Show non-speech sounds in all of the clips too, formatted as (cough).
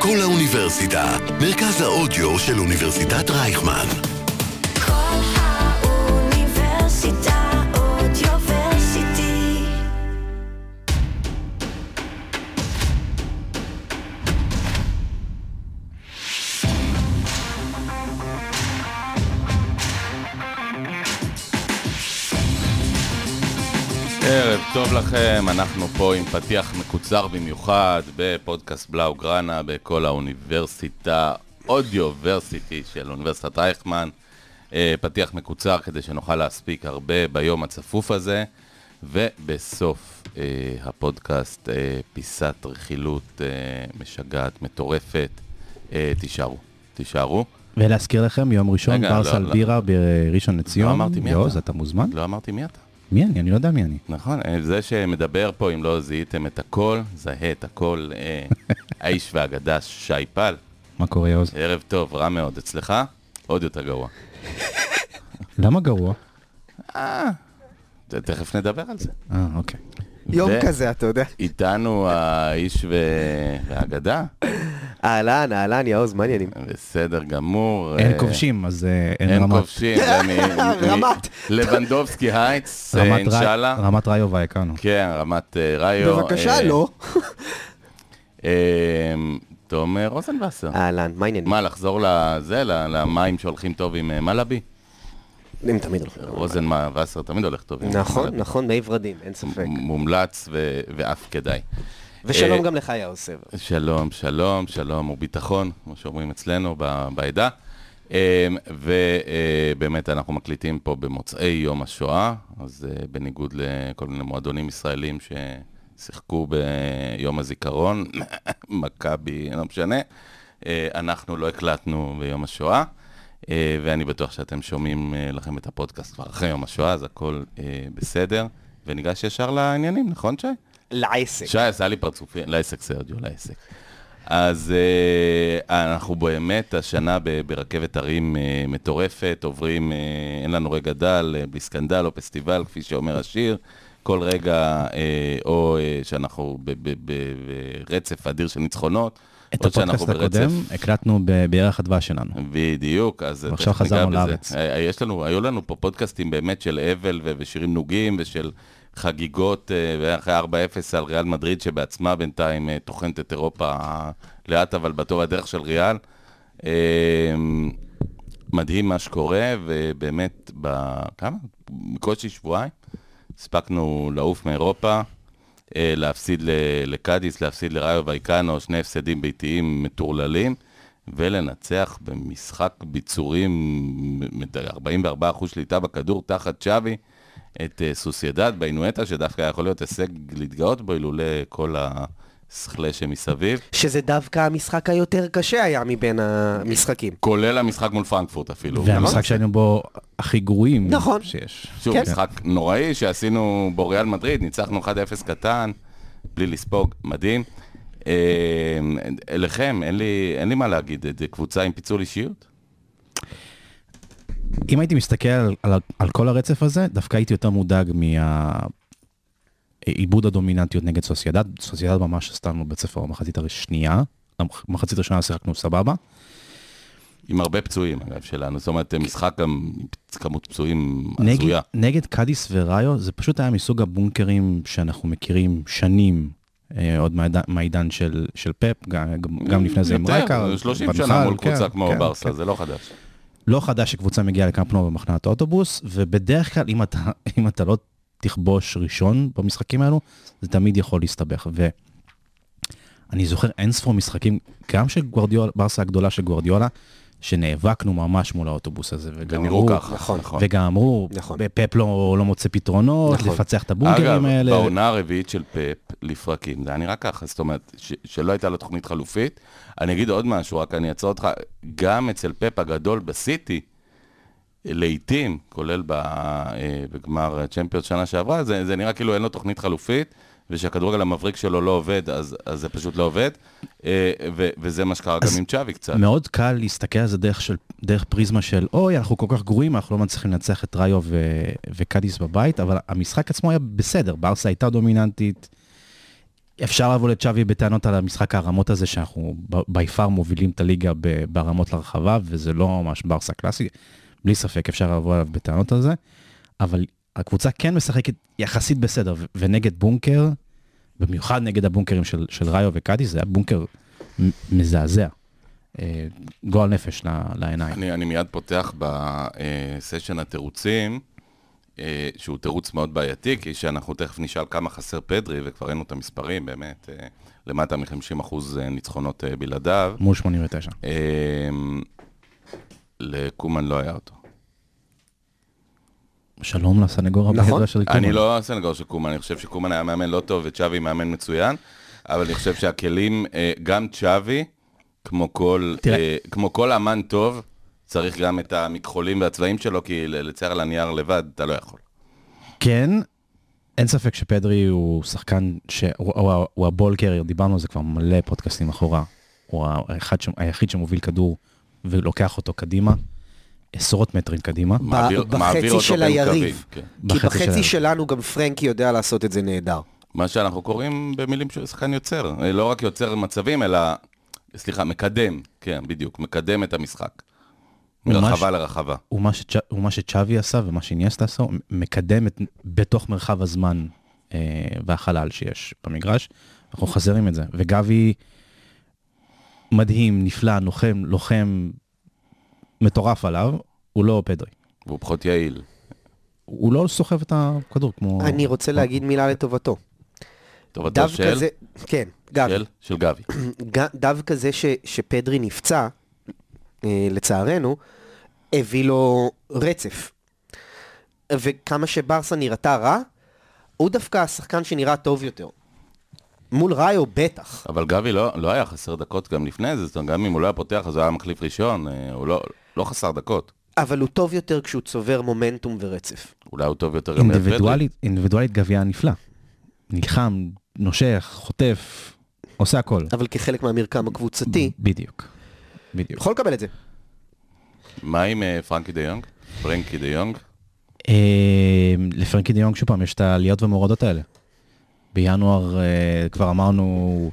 כל האוניברסיטה, מרכז האודיו של אוניברסיטת רייכמן. כל האוניברסיטה אודיוורסיטי. ערב טוב לכם, אנחנו פה עם פתיח מקוצר במיוחד בפודקאסט בלאו גראנה בכל האוניברסיטה, אודיוורסיטי של אוניברסיטת רייכמן. אה, פתיח מקוצר כדי שנוכל להספיק הרבה ביום הצפוף הזה. ובסוף אה, הפודקאסט, אה, פיסת רכילות אה, משגעת, מטורפת. אה, תישארו, תישארו. ולהזכיר לכם, יום ראשון, רגע, בר לא, סל לא. בירה בראשון לציון. לא אמרתי מי אתה. יואו, אז אתה מוזמן? לא אמרתי מי אתה. מי אני? אני לא יודע מי אני. נכון, אה, זה שמדבר פה, אם לא זיהיתם את הכל, זהה את הכל, (laughs) אה, האיש והאגדה שי פל. מה קורה, יוז? ערב טוב, רע מאוד. אצלך? עוד יותר גרוע. למה גרוע? ת- תכף נדבר על זה. אה, אוקיי. יום ו- כזה, אתה יודע. איתנו האיש ו- והאגדה, אהלן, אהלן, יאוז, מה העניינים? בסדר גמור. אין אה, כובשים, אז אה, אין אין רמת- כובשים. זה מ- (laughs) מ- רמת. לבנדובסקי הייטס, אה, רמת רי- אינשאללה. רמת ראיובה הכרנו. כן, רמת אה, ראיו. בבקשה, אה, לא. אה, תום אה, רוזנבסר. אהלן, מה העניינים? מה, לחזור לזה, ל- למים שהולכים טוב עם אה, מלאבי? הם תמיד הולכים. רוזן מה- וסר תמיד הולך טוב עם נכון, מלאבי. נכון, מי ורדים, אין ספק. מ- מומלץ ו- ואף כדאי. ושלום אה, גם לך, יאוז סבב. שלום, שלום, שלום וביטחון, כמו שאומרים אצלנו ב- בעדה. אה, ובאמת אנחנו מקליטים פה במוצאי יום השואה, אז אה, בניגוד לכל מיני מועדונים ישראלים ששיחקו ביום הזיכרון, (laughs) מכבי, לא משנה, אה, אנחנו לא הקלטנו ביום השואה, אה, ואני בטוח שאתם שומעים אה, לכם את הפודקאסט כבר אחרי יום השואה, אז הכל אה, בסדר. וניגש ישר לעניינים, נכון, שי? לעסק. שי עשה לי פרצופים, לעסק סרג'יו, לעסק. אז אה, אנחנו באמת השנה ב- ברכבת הרים אה, מטורפת, עוברים, אה, אין לנו רגע דל, אה, בלי סקנדל או פסטיבל, כפי שאומר השיר. כל רגע, אה, או אה, שאנחנו ב- ב- ב- ברצף אדיר של ניצחונות, את או שאנחנו נכון. הפודקאסט הקודם הקלטנו ב- בירח הדבש שלנו. בדיוק, אז... ועכשיו תכף ניגע חזרנו בזה. לארץ. אה, אה, יש לנו, היו לנו פה פודקאסטים באמת של אבל ו- ושירים נוגים ושל חגיגות, אה, ואחרי 4-0 על ריאל מדריד, שבעצמה בינתיים אה, טוחנת את אירופה אה, לאט אבל בטוב הדרך של ריאל. אה, מדהים מה שקורה, ובאמת, ב... כמה? בקושי שבועיים, הספקנו לעוף מאירופה. אה, להפסיד ל- לקאדיס, להפסיד לראיו וייקאנו, שני הפסדים ביתיים מטורללים, ולנצח במשחק ביצורים, מ- מ- 44% שליטה בכדור תחת שווי, את אה, סוסיידד באינואטה, שדווקא יכול להיות הישג להתגאות בו, אילולא כל השכלה שמסביב. שזה דווקא המשחק היותר קשה היה מבין המשחקים. כולל המשחק מול פרנקפורט אפילו. והמשחק שהיינו בו הכי גרועים נכון. שיש. שוב, כן. משחק נוראי שעשינו בו ריאל מדריד, ניצחנו 1-0 קטן, בלי לספוג, מדהים. אה, אליכם, אין לי, אין לי מה להגיד, זה קבוצה עם פיצול אישיות? אם הייתי מסתכל על- על- על כל הרצף הזה, דווקא הייתי יותר מודאג מה... עיבוד הדומיננטיות נגד סוסיידד, סוסיידד ממש עשתה לנו בית ספר במחצית השנייה, במחצית הראשונה שיחקנו סבבה, אה, עם הרבה פצועים, אגב, שלנו. זאת אומרת, משחק גם עם כמות פצועים נגד, הזויה. נגד קאדיס וראיו זה פשוט היה מסוג הבונקרים שאנחנו מכירים שנים, אה, עוד מהעידן- מהעידן של, של פאפ, גם, גם- גם לפני זה עם יותר, רייקר. 30 בנפל, שנה מול כן, קבוצה כמו כן, ברסה, כן. זה לא חדש. לא חדש שקבוצה מגיעה לקמפנור במחנת האוטובוס, ובדרך כלל אם אתה, (laughs) אם אתה לא תכבוש ראשון במשחקים האלו, זה תמיד יכול להסתבך. ואני זוכר אין ספור משחקים, גם של גוורדיולה, ברסה הגדולה של גוורדיולה, שנאבקנו ממש מול האוטובוס הזה, וגם גם נראו אמרו, ככה, נכון. נכון. וגם אמרו, נכון. פפ לא, לא מוצא פתרונות, נכון. לפצח את הבונקרים האלה. אגב, בעונה הרביעית של פאפ, לפרקים, זה היה נראה ככה, זאת אומרת, ש- שלא הייתה לו תוכנית חלופית. אני אגיד עוד משהו, רק אני אעצור אותך, גם אצל פאפ הגדול בסיטי, לעיתים, כולל ב, אה, בגמר צ'מפיונס שנה שעברה, זה, זה נראה כאילו אין לו תוכנית חלופית, ושהכדורגל המבריק שלו לא עובד, אז, אז זה פשוט לא עובד, אה, ו, וזה מה שקרה גם עם צ'אבי קצת. מאוד קל להסתכל על זה דרך, של, דרך פריזמה של, אוי, אנחנו כל כך גרועים, אנחנו לא מצליחים לנצח את ראיו ו- וקאדיס בבית, אבל המשחק עצמו היה בסדר, ברסה הייתה דומיננטית. אפשר לבוא לצ'אבי בטענות על המשחק הרמות הזה, שאנחנו בי פאר מובילים את הליגה ב- ברמות לרחבה, וזה לא ממש ברסה קלאסי, בלי ספק אפשר לבוא אליו בטענות על זה, אבל הקבוצה כן משחקת יחסית בסדר, ו- ונגד בונקר, במיוחד נגד הבונקרים של, של ראיו וקאדיס, זה היה בונקר מ- מזעזע. אה, גועל נפש ל- לעיניים. אני, אני מיד פותח בסשן התירוצים, אה, שהוא תירוץ מאוד בעייתי, כי שאנחנו תכף נשאל כמה חסר פדרי, וכבר ראינו את המספרים, באמת, אה, למטה מ-50% ניצחונות אה, בלעדיו. מול 89. אה, לקומן לא היה אותו. שלום לסנגור נכון. הבכיר של קומן. אני לא הסנגור של קומן, אני חושב שקומן היה מאמן לא טוב וצ'אבי מאמן מצוין, אבל אני חושב שהכלים, אה, גם צ'אבי, כמו כל, תראה. אה, כמו כל אמן טוב, צריך גם את המכחולים והצבעים שלו, כי ל- לצייר על הנייר לבד אתה לא יכול. כן, אין ספק שפדרי הוא שחקן ש- הוא- הוא הוא הבול קרייר, דיברנו על זה כבר מלא פודקאסטים אחורה. הוא האחד ש- היחיד שמוביל כדור ולוקח אותו קדימה, עשרות מטרים קדימה. מעביר- בחצי מעביר אותו של בין היריב. קווים, כן. כי בחצי שלנו. בחצי שלנו גם פרנקי יודע לעשות את זה נהדר. מה שאנחנו קוראים במילים של שחקן יוצר. אה, לא רק יוצר מצבים, אלא, סליחה, מקדם, כן, בדיוק, מקדם את המשחק. ממש. מרחבה לרחבה. הוא מה שצ'- הוא מה שצ'אבי עשה ומה שאיניאסטה עשה, הוא מקדם את, בתוך מרחב הזמן אה, והחלל שיש במגרש. אנחנו חסרים את זה. וגבי מדהים, נפלא, נוחם, לוחם מטורף עליו, הוא לא פדרי. והוא פחות יעיל. הוא לא סוחב את הכדור כמו... אני רוצה להגיד מילה לטובתו. טובתו דווקא של? זה... כן, גבי. של? של גבי. ג- דווקא זה ש, שפדרי נפצע, אה, לצערנו, הביא לו רצף. וכמה שברסה נראתה רע, הוא דווקא השחקן שנראה טוב יותר. מול ראיו בטח. אבל גבי לא, לא היה חסר דקות גם לפני זה, זאת אומרת, גם אם הוא לא היה פותח, אז הוא היה מחליף ראשון, אה, הוא לא, לא חסר דקות. אבל הוא טוב יותר כשהוא צובר מומנטום ורצף. אולי הוא טוב יותר גם ליד פדרי. אינדיבידואלית, אינדיבידואלית גביע נפלא. נלחם, נושך, חוטף, עושה הכל. אבל כחלק מהמרקם הקבוצתי, בדיוק. בדיוק. יכול לקבל את זה. מה עם אה, פרנקי דה יונג? פרנקי דה יונג? אה, לפרנקי דיונג שוב פעם, יש את העליות והמורדות האלה. בינואר אה, כבר אמרנו,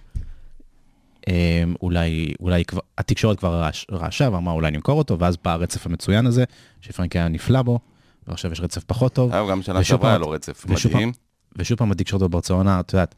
אה, אולי, אולי כבר, התקשורת כבר רעש- רעשה ואמרה אולי נמכור אותו, ואז בא הרצף המצוין הזה, שפרנקי היה נפלא בו, ועכשיו יש רצף פחות טוב. אגב, גם שנה ושוב שעברה פעם- היה לו רצף ושוב פעם- מדהים. ושוב פעם התקשורת בברצלונה, את יודעת,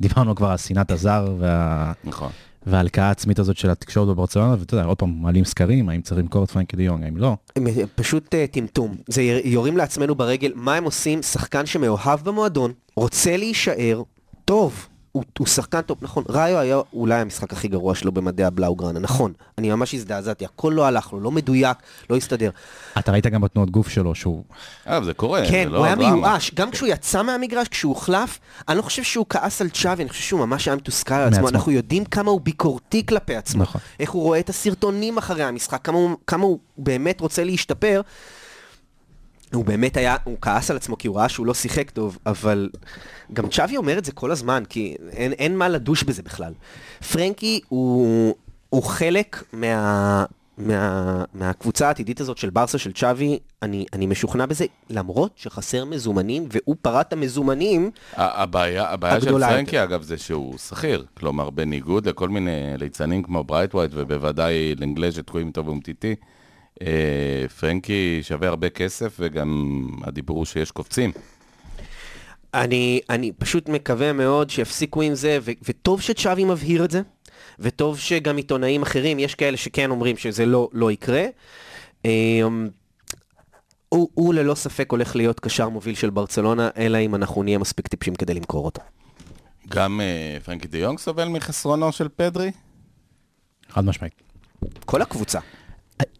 דיברנו כבר על שנאת הזר וה... נכון. וההלקאה העצמית הזאת של התקשורת בברצלונה, ואתה יודע, עוד פעם, מעלים סקרים, האם צריך למכור את פרנקי דה יונג, האם לא. הם, אה, פשוט אה, טמטום. זה יר- יורים לעצמנו ברגל, מה הם עושים? שחקן שמאוהב במועדון, רוצה להישאר, טוב. הוא, הוא שחקן טוב, נכון, ראיו היה אולי המשחק הכי גרוע שלו במדעי הבלאוגרנה, נכון, אני ממש הזדעזעתי, הכל לא הלך לו, לא מדויק, לא הסתדר. אתה ראית גם בתנועות גוף שלו, שהוא... אגב, זה קורה, כן, זה לא הוא היה דרמה. מיואש, גם כשהוא יצא מהמגרש, כשהוא הוחלף, אני לא חושב שהוא כעס על צ'אבי, אני חושב שהוא ממש היה מתוסכל על עצמו, מעצמו. אנחנו יודעים כמה הוא ביקורתי כלפי עצמו, נכון. איך הוא רואה את הסרטונים אחרי המשחק, כמה הוא- כמה הוא באמת רוצה להשתפר. הוא באמת היה, הוא כעס על עצמו כי הוא ראה שהוא לא שיחק טוב, אבל גם צ'אבי אומר את זה כל הזמן, כי אין, אין מה לדוש בזה בכלל. פרנקי הוא, הוא חלק מה, מה, מהקבוצה העתידית הזאת של ברסה של צ'אבי, אני, אני משוכנע בזה, למרות שחסר מזומנים, והוא פרט את המזומנים, ה- הבעיה, הבעיה של הגדולה פרנקי, אגב, זה שהוא שכיר. כלומר, בניגוד לכל מיני ליצנים כמו ברייט ווייט, ובוודאי לנגלז שתקועים איתו באומטיטי, אה, פרנקי שווה הרבה כסף, וגם הדיבור הוא שיש קופצים. אני, אני פשוט מקווה מאוד שיפסיקו עם זה, ו- וטוב שצ'אבי מבהיר את זה, וטוב שגם עיתונאים אחרים, יש כאלה שכן אומרים שזה לא, לא יקרה. אמ, הוא, הוא ללא ספק הולך להיות קשר מוביל של ברצלונה, אלא אם אנחנו נהיה מספיק טיפשים כדי למכור אותו. גם אה, פרנקי דה יונג סובל מחסרונו של פדרי? חד משמעית. כל הקבוצה.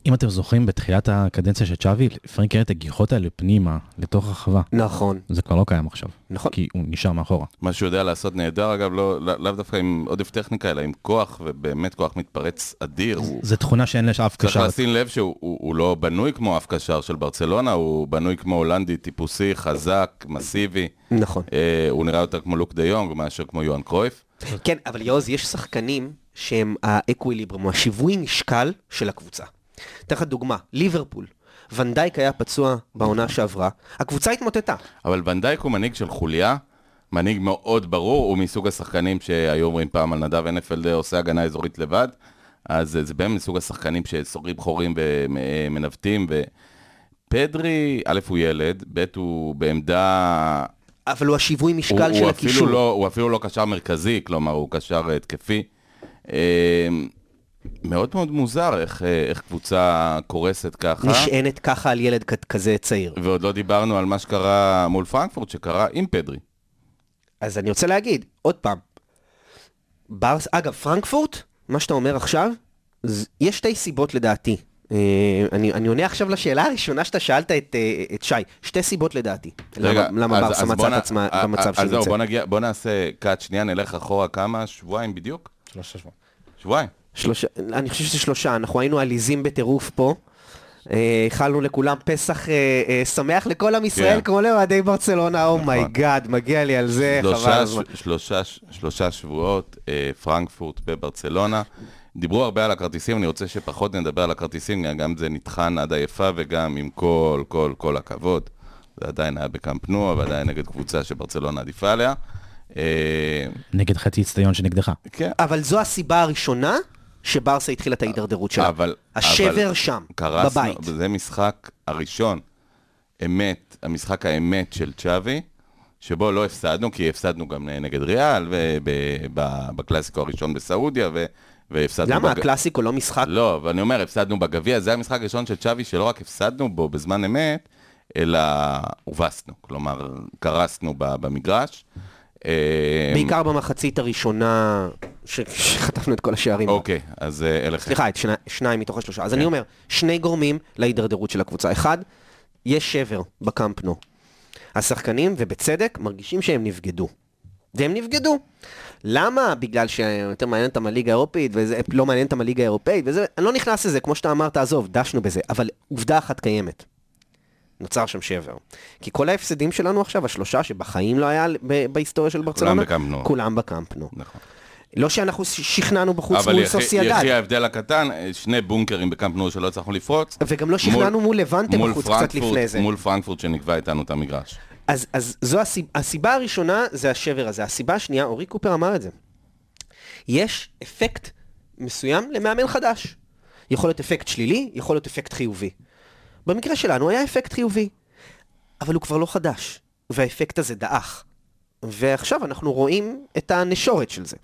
אם אתם זוכרים, בתחילת הקדנציה של צ'אבי, פרנק הראה את הגיחות האלה פנימה, לתוך הרחבה. נכון. זה כבר לא קיים עכשיו. נכון. כי הוא נשאר מאחורה. מה שהוא יודע לעשות נהדר, אגב, לא- לא- לאו דווקא עם עודף טכניקה, אלא עם כוח, ובאמת כוח מתפרץ אדיר. הוא זו תכונה שאין צריך לאף קשר. לשים לב שהוא הוא- הוא לא בנוי כמו אף קשר של ברצלונה, הוא בנוי כמו הולנדי טיפוסי, חזק, מסיבי. נכון. אה, הוא נראה יותר כמו לוק דה יונג מאשר כמו יוהאן קרויף. כן, אבל יוז, יש שחקנים שהם האקוויליברום, או השיווי משקל של הקבוצה. אתן לך דוגמה, ליברפול. ונדייק היה פצוע בעונה שעברה, הקבוצה התמוטטה. אבל ונדייק הוא מנהיג של חוליה, מנהיג מאוד ברור, הוא מסוג השחקנים שהיו אומרים פעם על נדב הנפלד עושה הגנה אזורית לבד, אז אה, זה באמת מסוג השחקנים שסוגרים חורים ומנווטים, ופדרי, א', הוא ילד, ב', הוא בעמדה... אבל הוא השיווי משקל הוא, של הוא הקישור. אפילו לא, הוא אפילו לא קשר מרכזי, כלומר, הוא קשר אה, התקפי. אה, מאוד מאוד מוזר איך, אה, איך קבוצה קורסת ככה. נשענת ככה על ילד כ- כזה צעיר. ועוד לא דיברנו על מה שקרה מול פרנקפורט, שקרה עם פדרי. אז אני רוצה להגיד, עוד פעם, ברס, אגב, פרנקפורט, מה שאתה אומר עכשיו, ז- יש שתי סיבות לדעתי. אה, אני, אני עונה עכשיו לשאלה הראשונה שאתה שאלת את, אה, את שי, שתי סיבות לדעתי. רגע, למה, למה אז- ברסה אז מצאה בוא את נ- עצמה אה, במצב שהיא אז זהו, נמצאת? בוא, נגיע, בוא נעשה קאט שנייה, נלך אחורה כמה, שבועיים בדיוק? שלושה שבועות. שבועיים. שלושה, אני חושב שזה שלושה, אנחנו היינו עליזים בטירוף פה. אה, איחלנו לכולם פסח אה, אה, שמח לכל עם ישראל, כן. כמו לאוהדי ברצלונה, נכון. אומייגאד, מגיע לי על זה, אה, חבל שלושה, הזמן. ש- שלושה, ש- שלושה שבועות, אה, פרנקפורט בברצלונה. דיברו הרבה על הכרטיסים, אני רוצה שפחות נדבר על הכרטיסים, גם זה נטחן עד עייפה וגם עם כל, כל, כל הכבוד. זה עדיין היה בקאמפ נו, אבל עדיין נגד קבוצה שברצלונה עדיפה עליה. אה, נגד חצי אצטדיון שנגדך. כן, אבל זו הסיבה הראשונה שברסה התחילה את ההידרדרות שלה. אבל... השבר אבל שם, קרסנו, בבית. זה משחק הראשון, אמת, המשחק האמת של צ'אבי, שבו לא הפסדנו, כי הפסדנו גם נגד ריאל, ובקלאסיקו הראשון בסעודיה, ו... והפסדנו... למה בג- הקלאסיקו לא משחק? לא, אבל אני אומר, הפסדנו בגביע, זה המשחק הראשון של צ'אבי שלא רק הפסדנו בו בזמן אמת, אלא הובסנו, כלומר, קרסנו ב- במגרש. אה, בעיקר במחצית הראשונה ש- שחטפנו את כל השערים. אוקיי, אז אה, אלה חלק. סליחה, את שני- שניים מתוך השלושה. כן. אז אני אומר, שני גורמים להידרדרות של הקבוצה. אחד, יש שבר בקמפנו. השחקנים, ובצדק, מרגישים שהם נבגדו. והם נבגדו. למה? בגלל שיותר מעניין אותם הליגה האירופית, וזה לא מעניין אותם הליגה האירופאית, וזה, אני לא נכנס לזה, כמו שאתה אמרת, עזוב, דשנו בזה, אבל עובדה אחת קיימת. נוצר שם שבר. כי כל ההפסדים שלנו עכשיו, השלושה שבחיים לא היה ב- בהיסטוריה של ברצלונה, בקאמפ נו. כולם בקמפנו. נכון. לא שאנחנו ש- שכנענו בחוץ אבל מול יחי- סוסיידד. יחי ההבדל הקטן, אה, שני בונקרים בקאמפ נו שלא הצלחנו לפרוץ. וגם לא שכנענו מול לבנטה מול בחוץ קצת פרנקפורט- לפני זה. מול פרנקפורט שנקבע איתנו את המגרש. אז, אז זו הסיב... הסיבה הראשונה, זה השבר הזה. הסיבה השנייה, אורי קופר אמר את זה. יש אפקט מסוים למאמן חדש. יכול להיות אפקט שלילי, יכול להיות אפקט חיובי. במקרה שלנו היה אפקט חיובי, אבל הוא כבר לא חדש, והאפקט הזה דעך. ועכשיו אנחנו רואים את הנשורת של זה.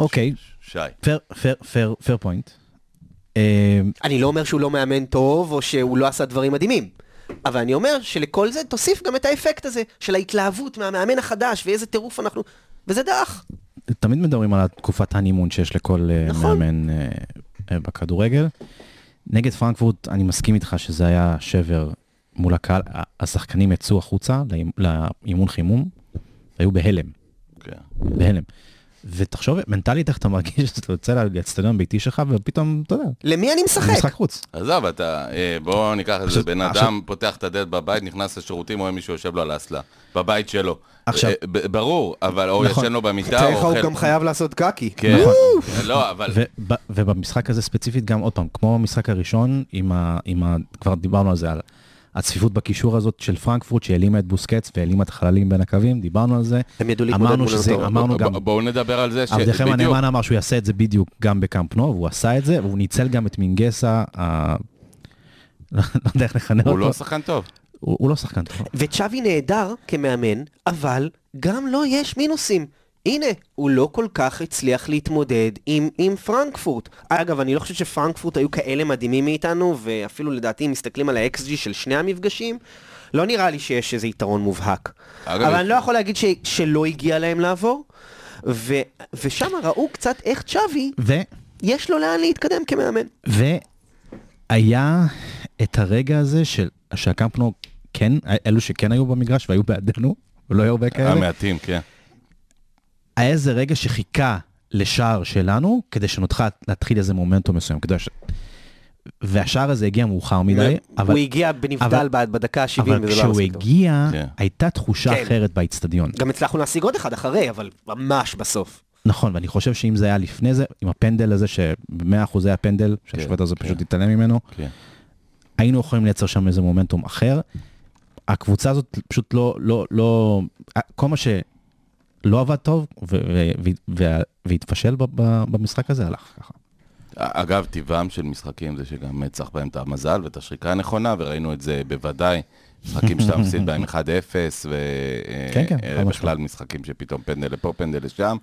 אוקיי, שי. פייר, פייר, פייר, פייר פוינט. אה, אני לא אומר שהוא לא מאמן טוב, או שהוא לא עשה דברים מדהימים. אבל אני אומר שלכל זה תוסיף גם את האפקט הזה של ההתלהבות מהמאמן החדש, ואיזה טירוף אנחנו... וזה דרך. תמיד מדברים על תקופת הנימון שיש לכל אה, נכון. מאמן אה, אה, בכדורגל. נגד פרנקפורט, אני מסכים איתך שזה היה שבר מול הקהל, ה- השחקנים יצאו החוצה לאימ- לאימון חימום, היו בהלם, כן. בהלם. ותחשוב מנטלית איך אתה מרגיש (laughs) שאתה יוצא לאצטדיון ביתי שלך ופתאום, אתה יודע, למי אני זה משחק? משחק חוץ. עזוב, אתה, אה, בוא ניקח את זה, עכשיו- בן עכשיו- אדם פותח את הדלת בבית, נכנס לשירותים, רואה מישהו יושב לו על האסלה. בבית שלו. עכשיו- אה, ב- ברור, אבל או נכון. ישן לו במיטה, או אוכל... חייב לעשות קקי. כן. נכון. לא, אבל... וב- ובמשחק הזה ספציפית גם עוד פעם, כמו המשחק הראשון, עם ה, עם ה, כבר דיברנו על זה, על הצפיפות בקישור הזאת של פרנקפורט שהעלימה את בוסקץ והעלימה את החללים בין הקווים, דיברנו על זה. הם ידעו להתמודד אמרנו מול שזה- אותו. אמרנו ב- גם, ב- בואו נדבר על זה ש... עבדכם בדיוק. הנאמן אמר שהוא יעשה את זה בדיוק גם בקאמפ נו, והוא עשה את זה, והוא ניצל גם את מינגסה, ה- לא יודע איך לכנה הוא לא אותו, שחקן טוב. הוא הוא לא שחקן טוב. וצ'אבי נהדר כמאמן, אבל גם לו יש מינוסים. הנה, הוא לא כל כך הצליח להתמודד עם, עם פרנקפורט. אגב, אני לא חושב שפרנקפורט היו כאלה מדהימים מאיתנו, ואפילו לדעתי, אם מסתכלים על ה-XG של שני המפגשים, לא נראה לי שיש איזה יתרון מובהק. אגב, אבל יש- אני לא יכול להגיד ש, שלא הגיע להם לעבור, ו, ושם ראו קצת איך צ'אבי, ו... יש לו לאן להתקדם כמאמן. והיה את הרגע הזה של, שהקמפנו כן, אלו שכן היו במגרש והיו בעדנו, ולא היו הרבה כאלה, המעטים, כן. היה איזה רגע שחיכה לשער שלנו, כדי שנוכל להתחיל איזה מומנטום מסוים. כדי ש... והשער הזה הגיע מאוחר מדי, אבל, הוא הגיע בנבדל אבל- בעד בדקה ה-70, אבל וזה לא היה כשהוא מספיק טוב. הגיע, כן. הייתה תחושה כן. אחרת באיצטדיון. גם הצלחנו להשיג עוד אחד אחרי, אבל ממש בסוף. נכון, ואני חושב שאם זה היה לפני זה, עם הפנדל הזה, ש-100% היה פנדל, שהשופט הזה כן. פשוט התעלם ממנו, כן. היינו יכולים לייצר שם איזה מומנטום אחר. הקבוצה הזאת פשוט לא, לא, לא, כל מה שלא עבד טוב ו- ו- ו- וה- והתפשל ב- ב- במשחק הזה הלך ככה. אגב, טבעם של משחקים זה שגם צריך בהם את המזל ואת השריקה הנכונה, וראינו את זה בוודאי. משחקים שאתה (laughs) מפסיד בהם 1-0, כן, כן, חד ובכלל משמעית. אה, משחקים שפתאום פנדל לפה, פנדל לשם.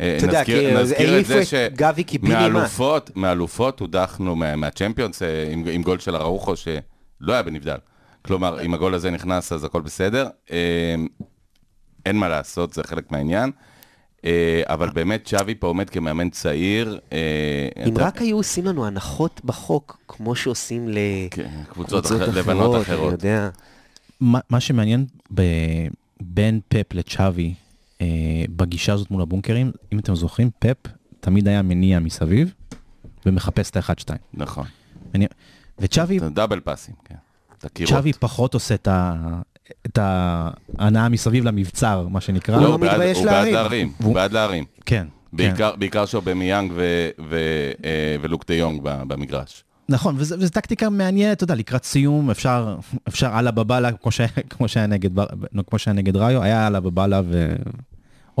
אה, אתה יודע, כי זה נזכיר את העיפו זה את גבי קיבינימט. שמאלופות, מאלופות הודחנו מה- מהצ'מפיונס אה, עם- עם גול של אראוחו שלא היה בנבדל. כלומר, אם הגול הזה נכנס אז הכל בסדר. אה, אין מה לעשות, זה חלק מהעניין. אה, אבל באמת, שווי פה עומד כמאמן צעיר. אה, אם אתה- רק היו עושים לנו הנחות בחוק, כמו שעושים ל... כן, קבוצות אחרות, לבנות אני אה, אחרות. יודע. מה, מה שמעניין ב, בין פפ לצ'אבי אה, בגישה הזאת מול הבונקרים, אם אתם זוכרים, פפ תמיד היה מניע מסביב ומחפש את האחד-שתיים. נכון. מניע- וצ'אבי דאבל פאסים, כן. תכירות. צ'אבי פחות עושה את ה- את ההנאה מסביב למבצר, מה שנקרא. לא, הוא בעד- מתבייש להרים. הוא בעד להרים, הוא והוא- בעד להרים. כן. כן. בעיקר- בעיקר שאובמיאנג ו- ו- אה, ולוק דה יונג ב- במגרש. נכון, וזו וזו טקטיקה מעניינת, אתה יודע, לקראת סיום אפשר, אפשר אללה בבאללה, כמו, ש... כמו, שהיה נגד, בר- נו, כמו שהיה נגד ראיו, היה אללה בבאללה ו...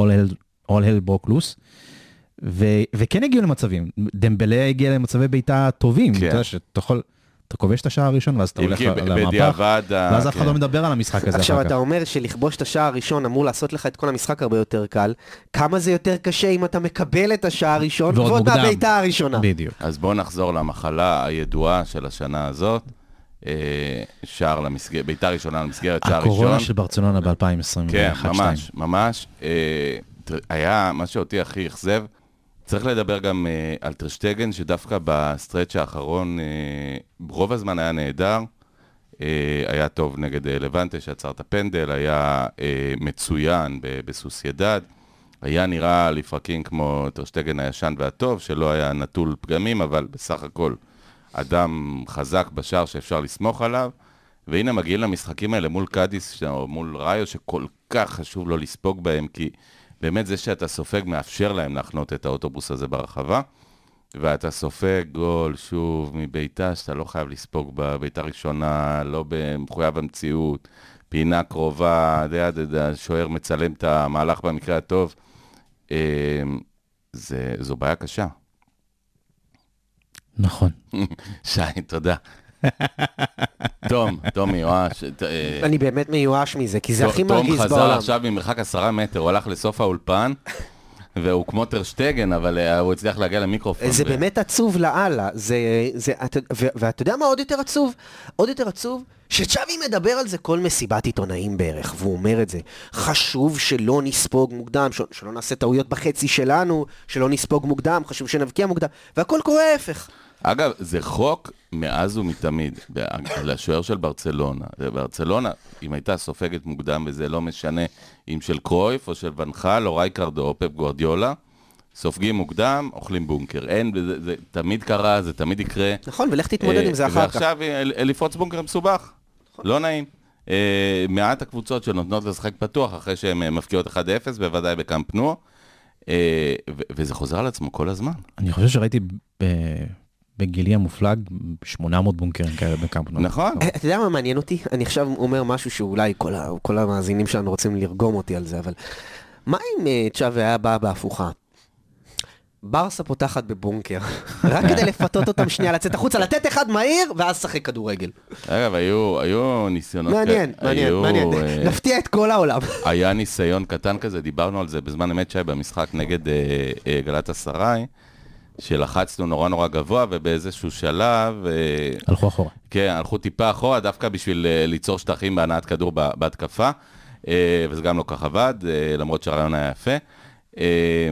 all hell- all hell broke loose. ו... וכן הגיעו למצבים, דמבלה הגיע למצבי בעיטה טובים, כן. אתה יודע שאתה יכול, אתה כובש את השער הראשון ואז אתה אם הולך כי ב- למהפך, בדיעבד ה- ואז אף אחד כן. לא מדבר על המשחק הזה עכשיו אחר אתה כך. אומר שלכבוש את השער הראשון אמור לעשות לך את כל המשחק הרבה יותר קל, כמה זה יותר קשה אם אתה מקבל את השער הראשון ועוד ועוד מוקדם. הבעיטה הראשונה. בדיוק. אז בואו נחזור למחלה הידועה של השנה הזאת. אה, שער למסגרת, בעיטה ראשונה למסגרת, שער ראשון. הקורונה של ברצלונה ב-2021. כן, ממש, ממש. אה, תר- היה, מה שאותי הכי אכזב, צריך לדבר גם אה, על טרשטגן, שדווקא בסטרץ' האחרון, אה, רוב הזמן היה נהדר. אה, היה טוב נגד אה, לבנטה, שעצר את הפנדל, היה אה, מצוין ב- בסוסיידד. היה נראה לפרקים כמו טרשטגן הישן והטוב, שלא היה נטול פגמים, אבל בסך הכל אדם חזק בשער שאפשר לסמוך עליו. והנה מגיעים למשחקים האלה מול קאדיס ש- או מול ראיו, שכל כך חשוב לא לספוג בהם, כי באמת זה שאתה סופג מאפשר להם להחנות את האוטובוס הזה ברחבה, ואתה סופג גול שוב מביתה שאתה לא חייב לספוג בביתה ראשונה, לא במחויב המציאות, פינה קרובה, דה, דה, דה, השוער מצלם את המהלך במקרה הטוב. אה, זה, זו בעיה קשה. נכון. שי, תודה. תום, תום מיואש, ת- אה, אני באמת מיואש מזה, כי זה הכי תום מרגיז חזר בעולם. עכשיו ממרחק עשרה מטר, הוא הלך לסוף האולפן, והוא כמו טרשטגן, אבל אה, הוא הצליח להגיע למיקרופון. זה ו- באמת עצוב לאללה, זה, זה, אתה- ו- ואתה יודע מה עוד יותר עצוב? עוד יותר עצוב, שצ'אבי מדבר על זה כל מסיבת עיתונאים בערך, והוא אומר את זה. חשוב שלא נספוג מוקדם, של, שלא נעשה טעויות בחצי שלנו, שלא נספוג מוקדם, חשוב שנבקיע מוקדם, והכל קורה ההפך. אגב, זה חוק מאז ומתמיד, ב- לשוער של ברצלונה. ברצלונה, אם הייתה סופגת מוקדם, וזה לא משנה אם של קרויף או של ונחל או רייקרד או פפ גוורדיולה, סופגים מוקדם, אוכלים בונקר. אין, זה, זה תמיד קרה, זה תמיד יקרה. נכון, ולך תתמודד עם זה אה, אחר כך. נכון. ועכשיו אה, לפרוץ בונקר מסובך, לא נעים. אה, מעט הקבוצות שנותנות לשחק פתוח אחרי שהן אה, מפקיעות 1-0, בוודאי בקאמפ נו, אה, ו- וזה חוזר על עצמו כל הזמן. אני חושב שראיתי ב... בגילי המופלג 800 בונקרים כאלה בקמפנון. נכון. אה, אתה יודע מה מעניין אותי? אני עכשיו אומר משהו שאולי כל, ה, כל המאזינים שלנו רוצים לרגום אותי על זה, אבל מה אם אה, צ'אבי היה בא בהפוכה? ברסה פותחת (laughs) בבונקר, רק כדי לפתות אותם שנייה, לצאת החוצה, לתת אחד מהיר, ואז שחק כדורגל. אגב, היו, היו ניסיונות... מעניין, כאלה- מעניין, אוקיי, היו, מעניין. (laughs) נכון. אה, נפתיע את כל העולם. (laughs) היה ניסיון קטן כזה, דיברנו על זה בזמן אמת שי במשחק נגד אה, אה, גלת אסריי, שלחצנו נורא נורא גבוה, ובאיזשהו שלב... אה, הלכו אחורה. כן, הלכו טיפה אחורה, דווקא בשביל אה, ליצור שטחים בהנעת כדור ב- בהתקפה, אה, וזה גם לא כך עבד, אה, למרות שהרעיון היה יפה. אה,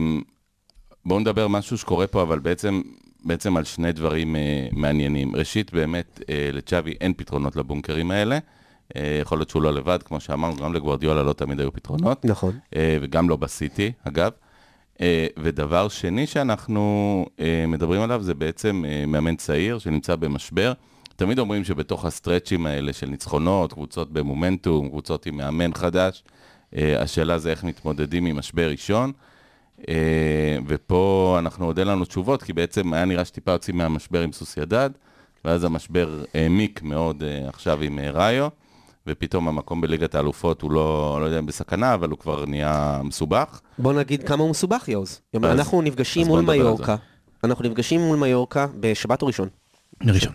בואו נדבר משהו שקורה פה, אבל בעצם, בעצם על שני דברים אה, מעניינים. ראשית, באמת, אה, לצ'אבי אין פתרונות לבונקרים האלה. אה, יכול להיות שהוא לא לבד, כמו שאמרנו, גם לגוורדיולה לא תמיד היו פתרונות. נכון. אה, וגם לא בסיטי, אגב. אה, ודבר שני שאנחנו אה, מדברים עליו זה בעצם אה, מאמן צעיר שנמצא במשבר. תמיד אומרים שבתוך הסטרצ'ים האלה של ניצחונות, קבוצות במומנטום, קבוצות עם מאמן חדש, אה, השאלה זה איך מתמודדים עם משבר ראשון. אה, ופה אנחנו עוד אין לנו תשובות, כי בעצם היה נראה שטיפה יוצאים מהמשבר עם סוסיידד, ואז המשבר העמיק מאוד אה, עכשיו עם אה, ראיו, ופתאום המקום בליגת האלופות הוא לא, לא יודע אם בסכנה, אבל הוא כבר נהיה מסובך. בוא נגיד כמה הוא מסובך, יאוז. אז- אנחנו נפגשים אז בוא מול נדבר על זה. מיורקה. אנחנו נפגשים מול מיורקה בשבת או ראשון. מראשון.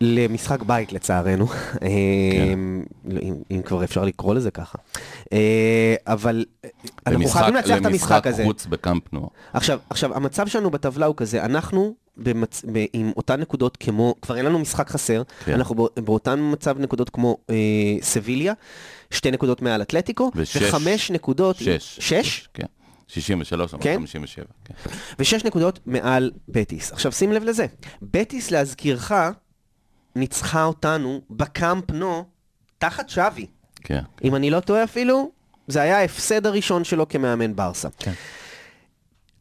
למשחק בית לצערנו, כן. אה, לא, אם- אם כבר אפשר לקרוא לזה ככה. אה, אבל אה, אנחנו במשחק- חייבים לנצח את המשחק הזה. למשחק חוץ בקאמפ נו. עכשיו, עכשיו, המצב שלנו בטבלה הוא כזה, אנחנו במצ... ב... עם אותן נקודות כמו, כבר אין לנו משחק חסר, כן. כן. אנחנו בא... באותן מצב נקודות כמו אה, סביליה, שתי נקודות מעל אתלטיקו, ושש. וחמש נקודות, שש. שש? כן. 63, אמרת כן? 57. כן. ושש נקודות מעל בטיס. עכשיו שים לב לזה, בטיס להזכירך, ניצחה אותנו בקאמפ נו תחת שווי. כן. אם אני לא טועה אפילו, זה היה ההפסד הראשון שלו כמאמן ברסה. כן.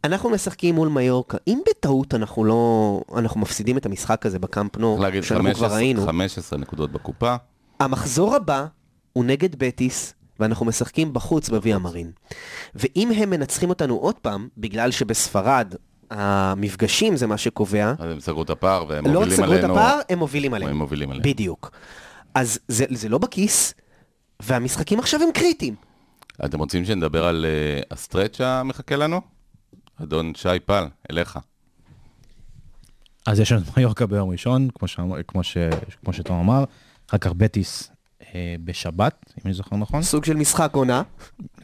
אנחנו משחקים מול מיורקה. אם בטעות אנחנו לא... אנחנו מפסידים את המשחק הזה בקאמפ נו, צריך להגיד, שאנחנו כבר 15 ראינו, 15 נקודות בקופה. המחזור הבא הוא נגד בטיס, ואנחנו משחקים בחוץ בוויה מרין. ואם הם מנצחים אותנו עוד פעם, בגלל שבספרד המפגשים זה מה שקובע, אז הם סגרו את הפער והם לא רק מובילים סגרו את עלינו. הפער, הם מובילים עלינו. הם מובילים עלינו. בדיוק. אז זה, זה לא בכיס, והמשחקים עכשיו הם קריטיים. אתם רוצים שנדבר על אה, הסטרץ' המחכה לנו? אדון שי פל, אליך. אז יש לנו את מיורקה ביום ראשון, כמו, שאמר, כמו, ש, כמו שתום אמר, אחר כך בטיס אה, בשבת, אם אני זוכר נכון. סוג של משחק עונה.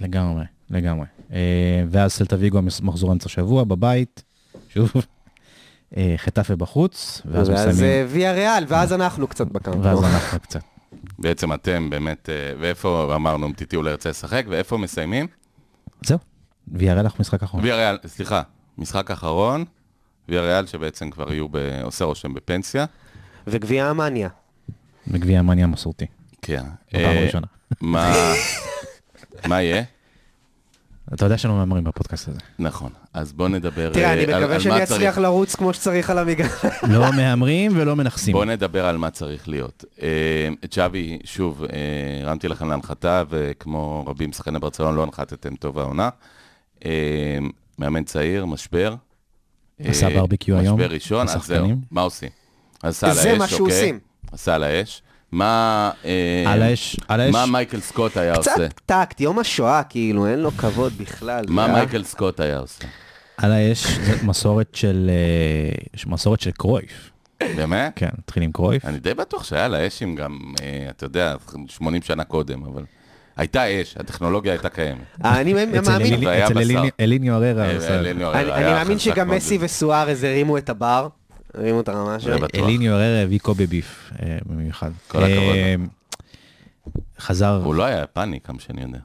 לגמרי, לגמרי. אה, ואז סלטה ויגו המס- מחזור אמצע שבוע בבית, שוב, אה, חטאפה בחוץ, ואז ואז מסיימים, אה, ויה ריאל, ואז אנחנו קצת בקרקע. ואז אנחנו קצת. בעצם אתם באמת, אה, ואיפה, אמרנו, מטיטי אולי ירצה לשחק, ואיפה מסיימים? זהו, ויראה לך משחק אחרון. ויה ריאל, סליחה, משחק אחרון, ויה ריאל שבעצם כבר יהיו, ב- עושה רושם בפנסיה. וגביע המאניה. בגביע המאניה המסורתי, כן. בפעם הראשונה. מה מה יהיה? אתה יודע שלא מהמרים בפודקאסט הזה. נכון, אז בוא נדבר תראה, אה, אני על- על מקווה שאני מה צריך. אצליח לרוץ כמו שצריך על המגרש. לא מהמרים ולא מנכסים. בוא נדבר על מה צריך להיות. אה, צ'אבי, שוב, אה, הרמתי לכם להנחתה, וכמו רבים שחקני ברצלון, לא הנחתתם טוב העונה. אה, מאמן צעיר, משבר. אה, עשה ברבקיו היום, משבר ראשון, אז זהו, לשחקנים. מה עושים? עשה על האש, זה אוקיי? מה שעושים. עשה על האש. מה... אה, על האש, על האש. מה מייקל סקוט היה קצת עושה? טקט, יום השואה, כאילו, אין לו כבוד בכלל. מה אה? מייקל סקוט היה עושה? על האש, זאת מסורת של אה, יש מסורת של קרויף. באמת? כן, נתחיל עם קרויף. אני די בטוח שהיה לה אשים גם, אה, אתה יודע, 80 שנה קודם, אבל... הייתה אש, הטכנולוגיה הייתה קיימת. אה, אני מאמין, אצל אליני- והיה אצל בשר. אליני- אליניו אררה. אה, עשה את זה. אלינו, אני היה אני מאמין חזק שגם מאוד. מסי וסוארז הרימו את הבר, הרימו את הרמה זה שלהם. בטוח. אליניו אררה הביא קובי ביף אה, במיוחד. כל הכבוד. אה, חזר, הוא לא היה יפני, כמה שאני יודע.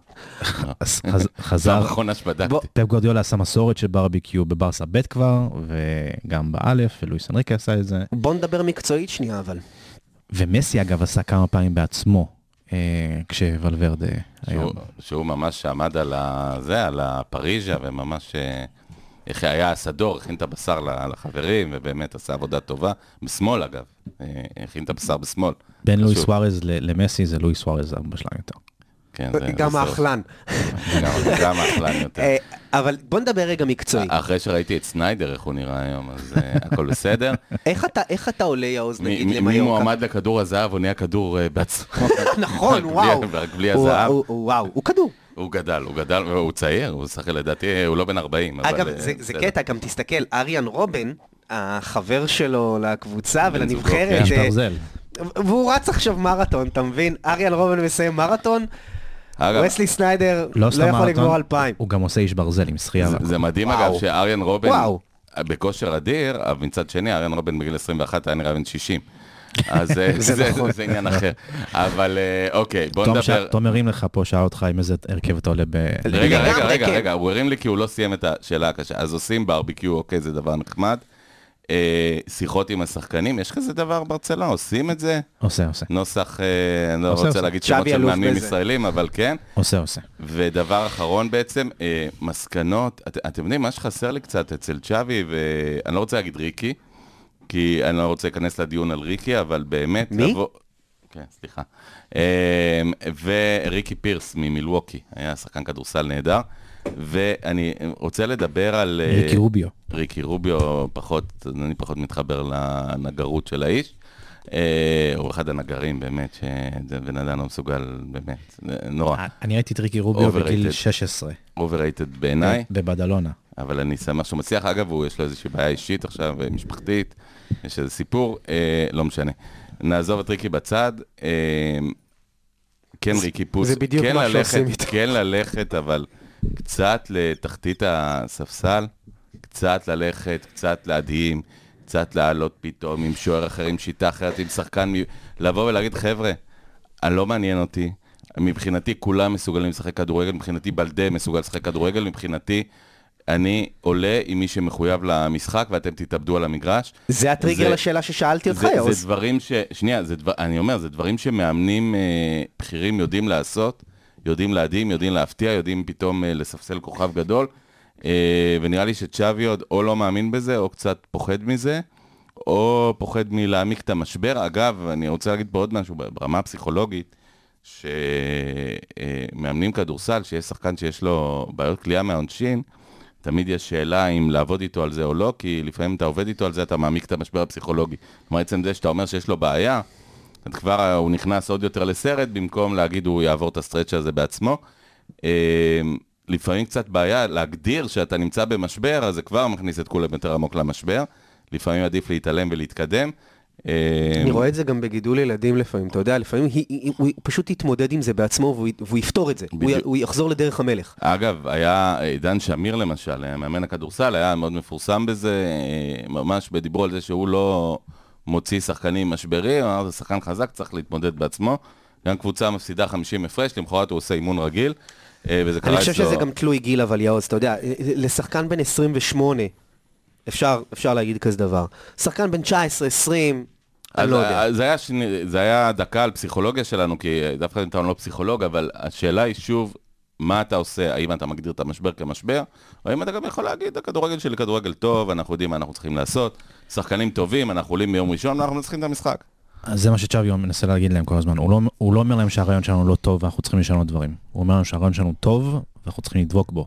אז (laughs) חז- זו חזר, האחרונה בוא, שבדקתי. פפ גורדיולה עשה מסורת של ברביקיו בברסה ב' כבר, וגם באלף, ולואיס אנריקה עשה את זה. בוא נדבר מקצועית שנייה, אבל. ומסי אגב עשה כמה פעמים בעצמו, אה, כשוולברדה היה. שהוא- שהוא ממש עמד על ה- זה, על הפריז'ה, וממש... אה, איך היה הסדור, הכין את הבשר ל- לחברים, ובאמת עשה עבודה טובה. בשמאל, אגב. אה, הכין את הבשר בשמאל. בין לואיס חשוב. סוארז ל- למסי זה לואיס סוארז הרבה שלהם יותר. כן, זה- גם בסדר. האכלן. גם- גם האכלן יותר. אה, אבל בוא נדבר רגע מקצועי. אה, אחרי שראיתי את סניידר, איך הוא נראה היום, אז אה, הכל (laughs) בסדר. איך אתה- איך אתה עולה, יאוז, אה. מי נגיד, מי- מי למיורקה? מועמד לכדור הזהב, הוא נהיה כדור אה, בעצמו. רק (laughs) נכון, בלי- וואו. רק בלי הוא- הזהב. הוא- הוא- וואו, הוא כדור. הוא גדל, הוא גדל, הוא צעיר, הוא שחק לדעתי, הוא לא בן 40. אבל, אגב, אה, זה, זה בסדר. קטע, גם תסתכל, אריאן רובן, החבר שלו לקבוצה בן זוגו, כן. ולנבחרת, איש אה, ברזל. והוא רץ עכשיו מרתון, אתה מבין? אריאן רובן מסיים מרתון, אגב, וסלי סניידר לא לא סתם יכול מרתון, לגמור אלפיים. הוא גם עושה איש ברזל עם שחייה. זה- זה מדהים וואו. אגב שאריאן רובן, וואו. בכושר אדיר, אבל מצד שני, אריאן רובן בגיל 21 היה נראה בן 60. אז (laughs) אה, זה- נכון. זה עניין אחר. אבל אה, אוקיי, בוא תום ש- נדבר. תום הרים לך פה, שאל אותך עם איזה הרכב אתה עולה ב... רגע, לגמרי, רגע, רגע, כן. רגע, הוא הרים לי כי הוא לא סיים את השאלה הקשה. אז עושים ברביקיו, אוקיי, זה דבר נחמד. אה, שיחות עם השחקנים, יש כזה דבר ברצלונה, עושים את זה? עושה, עושה. נוסח, אה, אני לא עושה, רוצה עושה. להגיד צ'אבי שמות של אלוף מאמנים בזה. ישראלים, אבל כן. עושה, עושה. ודבר אחרון בעצם, אה, מסקנות, את, אתם יודעים, מה שחסר לי קצת אצל צ'אבי, ואני לא רוצה להגיד ריקי, כי אני לא רוצה להיכנס לדיון על ריקי, אבל באמת... מי? כן, סליחה. אה, וריקי פירס ממילווקי, היה שחקן כדורסל נהדר, ואני רוצה לדבר על... אה, ריקי רוביו. ריקי רוביו, פחות, אני פחות מתחבר לנגרות של האיש. אה, הוא אחד הנגרים, באמת, שבן אדם לא מסוגל, באמת, זה נורא. אני ראיתי את ריקי רוביו בגיל Overrated. 16, אובררייטד בעיניי, בבדלונה. אבל אני שמח שהוא מצליח. אגב, הוא, יש לו איזושהי בעיה אישית עכשיו, אה, משפחתית, יש איזה סיפור, אה, לא משנה. נעזוב את ריקי בצד. אה, כן, ריקי פוס, זה בדיוק כן מה ללכת- שעושים איתו. כן ללכת, אבל קצת לתחתית הספסל, קצת ללכת, קצת להדהים, קצת לעלות פתאום עם שוער אחר, עם שיטה אחרת, עם שחקן, מ- לבוא ולהגיד, חבר'ה, אני לא מעניין אותי, מבחינתי כולם מסוגלים לשחק כדורגל, מבחינתי בלדה מסוגל לשחק כדורגל, מבחינתי אני עולה עם מי שמחויב למשחק ואתם תתאבדו על המגרש. זה הטריגר זה- לשאלה ששאלתי אותך, זה, יאוז. זה דברים ש... שנייה, זה דבר... אני אומר, זה דברים שמאמנים אה, בכירים יודעים לעשות, יודעים להדהים, יודעים להפתיע, יודעים פתאום אה, לספסל כוכב גדול, אה, ונראה לי שצ'אבי עוד או לא מאמין בזה, או קצת פוחד מזה, או פוחד מלהעמיק את המשבר. אגב, אני רוצה להגיד פה עוד משהו ברמה הפסיכולוגית. שמאמנים כדורסל, שיש שחקן שיש לו בעיות כליאה מהעונשין, תמיד יש שאלה אם לעבוד איתו על זה או לא, כי לפעמים אתה עובד איתו על זה, אתה מעמיק את המשבר הפסיכולוגי. כלומר, עצם זה שאתה אומר שיש לו בעיה, אז כבר אה, הוא נכנס עוד יותר לסרט, במקום להגיד הוא יעבור את הסטרץ' הזה בעצמו. אה, לפעמים קצת בעיה להגדיר שאתה נמצא במשבר, אז זה כבר מכניס את כולם יותר עמוק למשבר. לפעמים עדיף להתעלם ולהתקדם. אה, אני רואה את זה גם בגידול ילדים לפעמים, אתה יודע, לפעמים היא- היא- הוא פשוט יתמודד עם זה בעצמו והוא י- והוא יפתור את זה. הוא י- בדיוק. הוא יחזור לדרך המלך. אגב, היה אה, עידן שמיר למשל, היה מאמן הכדורסל, היה מאוד מפורסם בזה, אה, ממש בדיברו על זה שהוא לא מוציא שחקנים משברים, הוא אמר, זה שחקן חזק, צריך להתמודד בעצמו. גם קבוצה מפסידה 50 הפרש, למחרת הוא עושה אימון רגיל, אה, וזה קרה אני אצלו. חושב שזה גם תלוי גיל, אבל יאוז, אתה יודע, לשחקן בן 28, אפשר אפשר להגיד כזה דבר. שחקן בן 19, 20, אני אז- לא יודע. אז זה היה, שני, זה היה דקה על פסיכולוגיה שלנו, כי אה, דווקא אם אתה לא פסיכולוג, אבל השאלה היא שוב, מה אתה עושה? האם אתה מגדיר את המשבר כמשבר, או האם אתה גם יכול להגיד, הכדורגל שלי כדורגל טוב, אנחנו יודעים מה אנחנו צריכים לעשות, שחקנים טובים, אנחנו עולים ביום ראשון, אנחנו מנצחים את המשחק. אז זה מה שצ'אבי מנסה להגיד להם כל הזמן, הוא לא, הוא לא אומר להם שהרעיון שלנו לא טוב ואנחנו צריכים לשנות דברים. הוא אומר להם שהרעיון שלנו טוב ואנחנו צריכים לדבוק בו.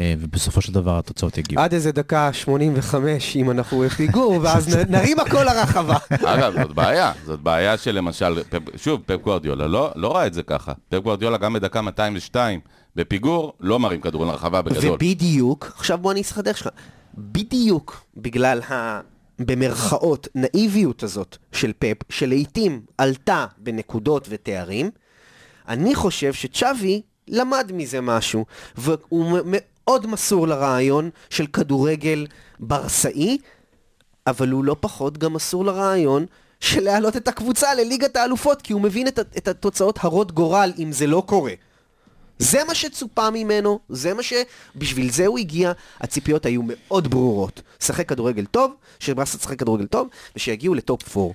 אה, ובסופו של דבר התוצאות יגיעו. אה. עד איזה דקה 85, אם אנחנו בפיגור, (laughs) ואז נ- נרים הכל לרחבה. אגב, זאת בעיה, זאת בעיה שלמשל, פפ- שוב, פפ גוורדיולה לא, לא ראה את זה ככה. פפ גוורדיולה גם בדקה 202 בפיגור, לא מרים כדורים לרחבה בגדול. ובדיוק, עכשיו בוא אני אסחר דרך שלך, בדיוק בגלל ה... במרכאות, נאיביות הזאת של פאפ, שלעיתים עלתה בנקודות ותארים, אני חושב שצ'אבי למד מזה משהו, והוא מ- מאוד מסור לרעיון של כדורגל ברסאי, אבל הוא לא פחות גם מסור לרעיון של להעלות את הקבוצה לליגת האלופות, כי הוא מבין את, ה- את התוצאות הרות גורל אם זה לא קורה. זה מה שצופה ממנו, זה מה ש... בשביל זה הוא הגיע, הציפיות היו מאוד ברורות. שחק כדורגל טוב, שברסה תשחק כדורגל טוב, ושיגיעו לטופ 4.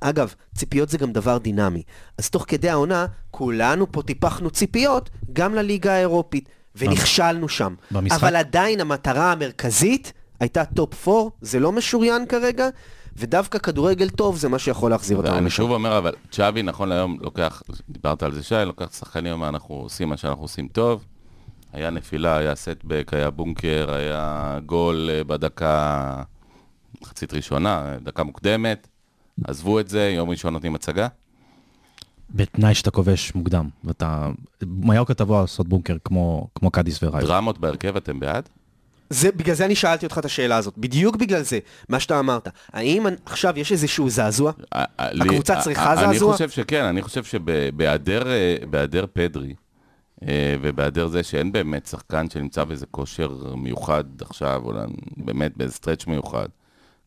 אגב, ציפיות זה גם דבר דינמי. אז תוך כדי העונה, כולנו פה טיפחנו ציפיות גם לליגה האירופית, ונכשלנו שם. במשחק- אבל עדיין המטרה המרכזית הייתה טופ 4, זה לא משוריין כרגע, ודווקא כדורגל טוב זה מה שיכול להחזיר אותנו אני לשם. שוב אומר, אבל צ'אבי נכון להיום לוקח, דיברת על זה שי, לוקח שחקנים, אומר, אנחנו עושים מה שאנחנו עושים טוב. היה נפילה, היה סטבק, היה בונקר, היה גול אה, בדקה, מחצית ראשונה, אה, דקה מוקדמת. עזבו את זה, יום ראשון נותנים הצגה. בתנאי שאתה כובש מוקדם, ואתה... מיוקה תבוא לעשות בונקר כמו, כמו קאדיס וראיו. דרמות בהרכב, אתם בעד? זה, בגלל זה אני שאלתי אותך את השאלה הזאת, בדיוק בגלל זה, מה שאתה אמרת. האם אני- עכשיו יש איזשהו זעזוע? ה- ה- לי- הקבוצה ה- צריכה ה- אני זעזוע? חושב שכן, אני חושב שבהיעדר אה, בהיעדר פדרי, אה, ובהיעדר זה שאין באמת שחקן שנמצא באיזה כושר מיוחד עכשיו, או לא- באמת באיזה סטרץ' מיוחד,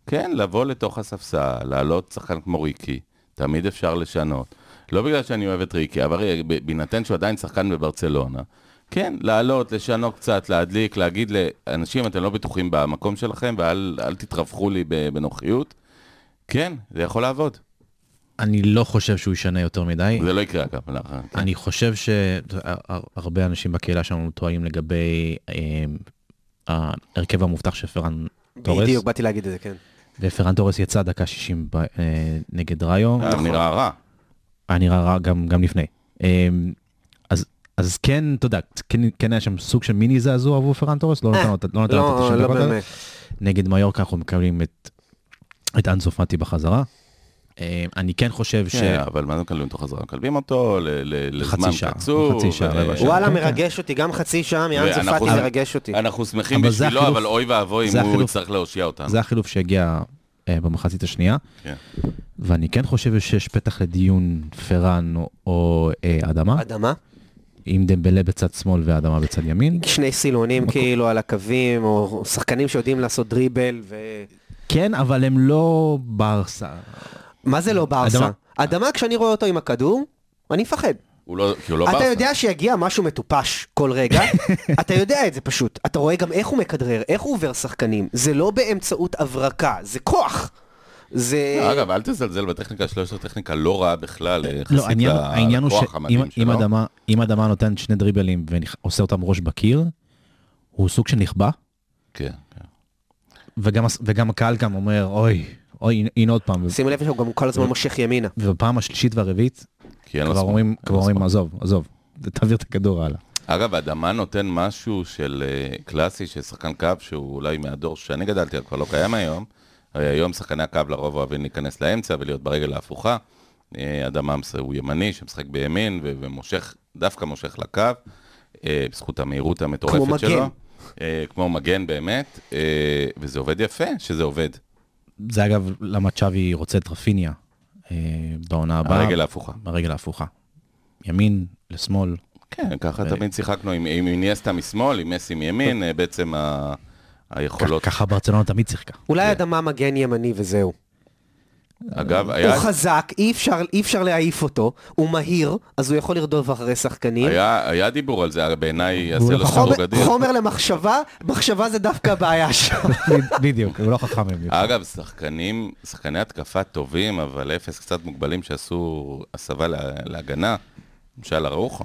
כן, לבוא לתוך הספסל, לעלות שחקן כמו ריקי, תמיד אפשר לשנות. לא בגלל שאני אוהב את ריקי, אבל אה, ב- בהינתן שהוא עדיין שחקן בברצלונה, כן, לעלות, לשנות קצת, להדליק, להגיד לאנשים, אתם לא בטוחים במקום שלכם, ואל אל תתרווחו לי ב- בנוחיות. כן, זה יכול לעבוד. אני לא חושב שהוא ישנה יותר מדי. זה לא יקרה אגב. לאחר- כן. אני חושב שהרבה אנשים בקהילה שלנו טועים לגבי אה, ההרכב המובטח של פרן תורס, בדיוק, באתי להגיד את זה, כן. ופרן תורס יצא דקה 60 ב- אה, נגד ראיו, היה נראה רע. היה נראה רע גם, גם לפני. אה, אז, אז כן, אתה יודע, כן, כן היה שם סוג של מיני זעזוע עבור פרן תורס, לא נתן לו את ה- לא נתן לו את לא, ה-90 לא דקות האלה. באמת. נגד מיורקה אנחנו מקבלים את, את אנזו פאטי בחזרה. אה, אני כן חושב ש... כן, אבל מה זה מקלבים אותו חזרה? מקלבים אותו ל- ל- לחצי לזמן שעה, קצור. לחצי שעה, ו- רבע שעה. וואלה, כן, מרגש אותי, גם חצי שעה מאנזה ואנחנו- פאטי אבל- מרגש אותי. אנחנו שמחים אבל זה בשבילו, החילוף- אבל אוי ואבוי זה אם הוא החילוף- יצטרך להושיע אותנו. זה החילוף שהגיע אה, במחצית השנייה, כן. ואני כן חושב שיש פתח לדיון פרן או- או אה, אדמה, אדמה? עם דמבלה בצד שמאל ואדמה בצד ימין. שני סילונים כאילו על הקווים, או שחקנים שיודעים לעשות דריבל ו... כן, אבל הם לא ברסה. מה זה לא ברסה? אדמה. אדמה, כשאני רואה אותו עם הכדור, אני מפחד. הוא לא, כי הוא לא אתה ברסה. יודע שיגיע משהו מטופש כל (laughs) רגע, אתה יודע את זה פשוט. אתה רואה גם איך הוא מכדרר, איך הוא עובר שחקנים. זה לא באמצעות הברקה, זה כוח. זה... לא, אגב, אל תזלזל בטכניקה שלו, יש לו טכניקה לא רעה בכלל, אה, לא, יחסית העניין, העניין הוא לכוח המדהים שאם שלו. אדמה, אם אדמה נותן שני דריבלים ועושה אותם ראש בקיר, הוא סוג של נכבה, כן, כן. וגם, הס- וגם הקהל גם אומר, אוי, אוי, הנה- הנה עוד פעם. שימו לב שהוא גם כל אה. הזמן מושך ימינה. ובפעם השלישית והרביעית, כי אין לו כבר שמאל, אומרים, אין כבר לו אומרים, שמאל. עזוב, עזוב, תעביר את הכדור הלאה. אגב, אדמה נותן משהו של אה, קלאסי, של שחקן קו, שהוא אולי מהדור שאני גדלתי, עליו, כבר לא קיים היום. הרי היום שחקני הקו לרוב אוהבים להיכנס לאמצע ולהיות ברגל ההפוכה. אה, אדמה מס- הוא ימני שמשחק בימין ו- ומושך, דווקא מושך לקו, אה, בזכות המהירות המטורפת כמו מגן. שלו. אה, כמו מגן באמת, אה, וזה עובד יפה שזה עובד, זה אגב למה צ'אבי רוצה את רפיניה אה, בעונה הבאה. הרגל ההפוכה. ברגל ההפוכה. ימין לשמאל. כן, ככה תמיד שיחקנו עם, עם איניאסטה משמאל, עם מסי מימין, אה, בעצם ה, היכולות. ככה ברצלונה תמיד שיחקה. כן. אולי אדמה מגן ימני וזהו. אגב, היה, הוא חזק, אי אפשר- אי אפשר להעיף אותו, הוא מהיר, אז הוא יכול לרדוף אחרי שחקנים. היה, היה דיבור על זה, בעיניי יעשה לו חומר- שדרוג אדיר. חומר למחשבה, מחשבה זה דווקא (laughs) הבעיה שם. בדיוק, הוא לא חכם. בדיוק. אגב, שחקנים, שחקני התקפה טובים, אבל אפס קצת מוגבלים שעשו הסבה לה- להגנה, למשל אראוחו,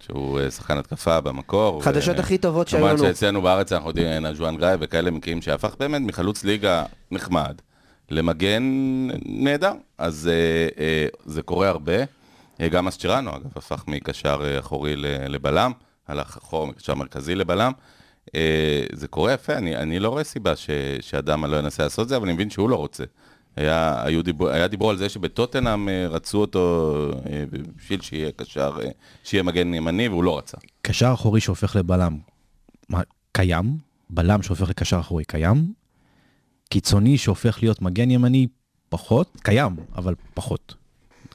שהוא אה, שחקן התקפה במקור. חדשות ו- הכי טובות שהיו לנו. כמובן שאצלנו בארץ אנחנו יודעים, אין אג'ואן גיא וכאלה מקרים שהפך באמת מחלוץ ליגה נחמד למגן נהדר. אז אה, אה, זה קורה הרבה. אה, גם אסצ'רנו, אגב, הפך מקשר אה, אחורי ל- לבלם, הלך אחורה מקשר מרכזי לבלם. אה, זה קורה יפה, אני, אני לא רואה סיבה ש, שאדם לא ינסה לעשות את זה, אבל אני מבין שהוא לא רוצה. היה, היו דיבור, היה דיבור על זה שבטוטנאם אה, רצו אותו אה, בשביל שיהיה קשר, אה, שיהיה מגן ימני, והוא לא רצה. קשר אחורי שהופך לבלם, מה, קיים? בלם שהופך לקשר אחורי, קיים? קיצוני שהופך להיות מגן ימני, פחות? קיים, אבל פחות.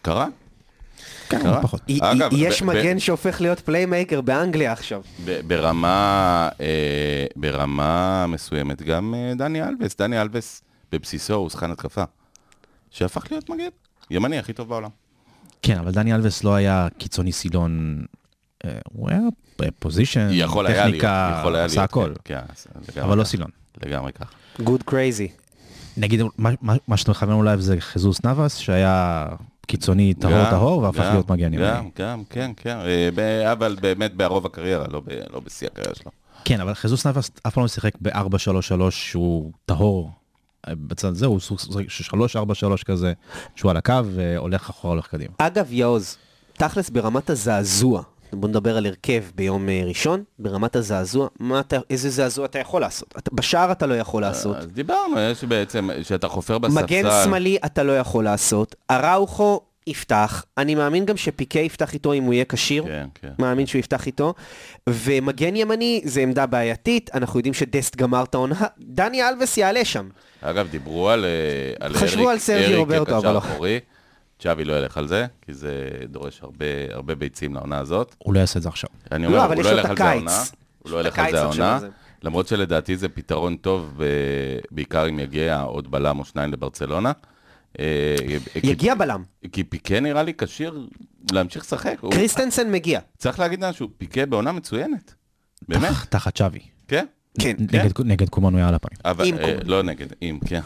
קרה? קיים, קרה. כן, פחות. אגב, יש ב- ב- מגן שהופך להיות פליימייקר באנגליה עכשיו. ב- ברמה, אה, ברמה מסוימת, גם אה, דני אלבס, דני אלבס בבסיסו הוא שחקן התקפה, שהפך להיות מגן, ימני הכי טוב בעולם. כן, אבל דני אלבס לא היה קיצוני סילון, אה, הוא היה פ- פוזיישן, יכול היה להיות, כן, טכניקה, יכול היה להיות. עשה הכל, כן, כן, אז- לגמרי אבל לא ככה. סילון. לגמרי ככה. Good crazy. נגיד, מה- מה- מה שאתה מכוון אולי זה חזוס נאבס, שהיה קיצוני טהור גם, טהור, והפך גם, להיות מגן גם, ימני. גם, כן, כן, אה, ב- אבל באמת בערוב הקריירה, לא ב- לא בשיא הקריירה שלו. כן, אבל חזוס נאבס אף פעם לא שיחק ב-4-3-3 שהוא טהור. אה, בצד זה הוא סוג של 3-4-3 כזה, שהוא על הקו, והולך אחורה, הולך קדימה. אגב, יאוז, תכלס ברמת הזעזוע, בוא נדבר על הרכב ביום אה, ראשון, ברמת הזעזוע, מה אתה, איזה זעזוע אתה יכול לעשות? אתה, בשער אתה לא יכול לעשות. אז דיברנו, יש בעצם, שאתה חופר אה, בספסל. מגן שמאלי אתה לא יכול לעשות. אראוחו יפתח, אני מאמין גם שפיקי יפתח איתו אם הוא יהיה כשיר. כן, כן. מאמין שהוא יפתח איתו. ומגן ימני זה עמדה בעייתית, אנחנו יודעים שדסט גמר את העונה, דני אלבס יעלה שם. אגב, דיברו על, אה, על חשבו על סרגי רוברטו, אבל כקשר לא. אחורי. צ'אבי לא ילך על זה, כי זה דורש הרבה, הרבה ביצים לעונה הזאת. הוא לא יעשה את זה עכשיו. אני לא, אומר, אבל הוא יש לא לו ילך את על זה הקיץ. העונה. הוא לו לא את ילך על הקיץ זה עכשיו העונה. הזה. למרות שלדעתי זה פתרון טוב, ב- בעיקר אם יגיע עוד בלם או שניים לברצלונה. אה, כי- יגיע בלם, כי פיקה נראה לי כשיר להמשיך לשחק. הוא- קריסטנסן מגיע. צריך להגיד משהו, פיקה בעונה מצוינת. באמת, תח- תחת שווי. כן. כן. נגד- נגד קומן הוא היה על הפנים. אבל, עם אה, קומן. לא נגד, אם, כן.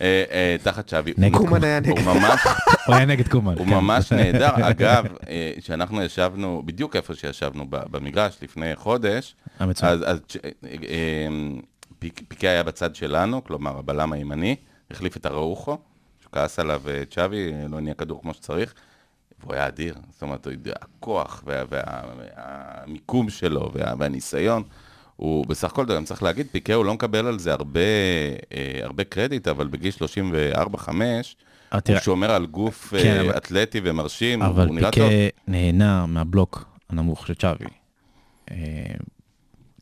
אה, אה, תחת שווי. נגד הוא- קומן היה הוא ממש... (laughs) הוא היה נגד קומן. הוא כן. (laughs) ממש נהדר. אגב, אה, כשאנחנו ישבנו, בדיוק איפה שישבנו ב- במגרש לפני חודש, היה מצוין. אז, אז צ'- אה, אה, פיק- פיקי היה בצד שלנו, כלומר הבלם הימני, החליף את הראוכו, שהוא כעס עליו אה, צ'אבי, אה, לא נהיה כדור כמו שצריך, והוא היה אדיר, זאת אומרת, הוא יודע, הכוח וה- וה- והמיקום שלו וה- והניסיון. הוא בסך הכל, גם צריך להגיד, פיקה הוא לא מקבל על זה הרבה, אה, הרבה קרדיט, אבל בגיל 34-5, הוא אבל תראה, שומר על גוף כן, אה, אבל- אתלטי ומרשים, אבל הוא נראה פיקה טוב. נהנה מהבלוק הנמוך של צ'אבי. אה,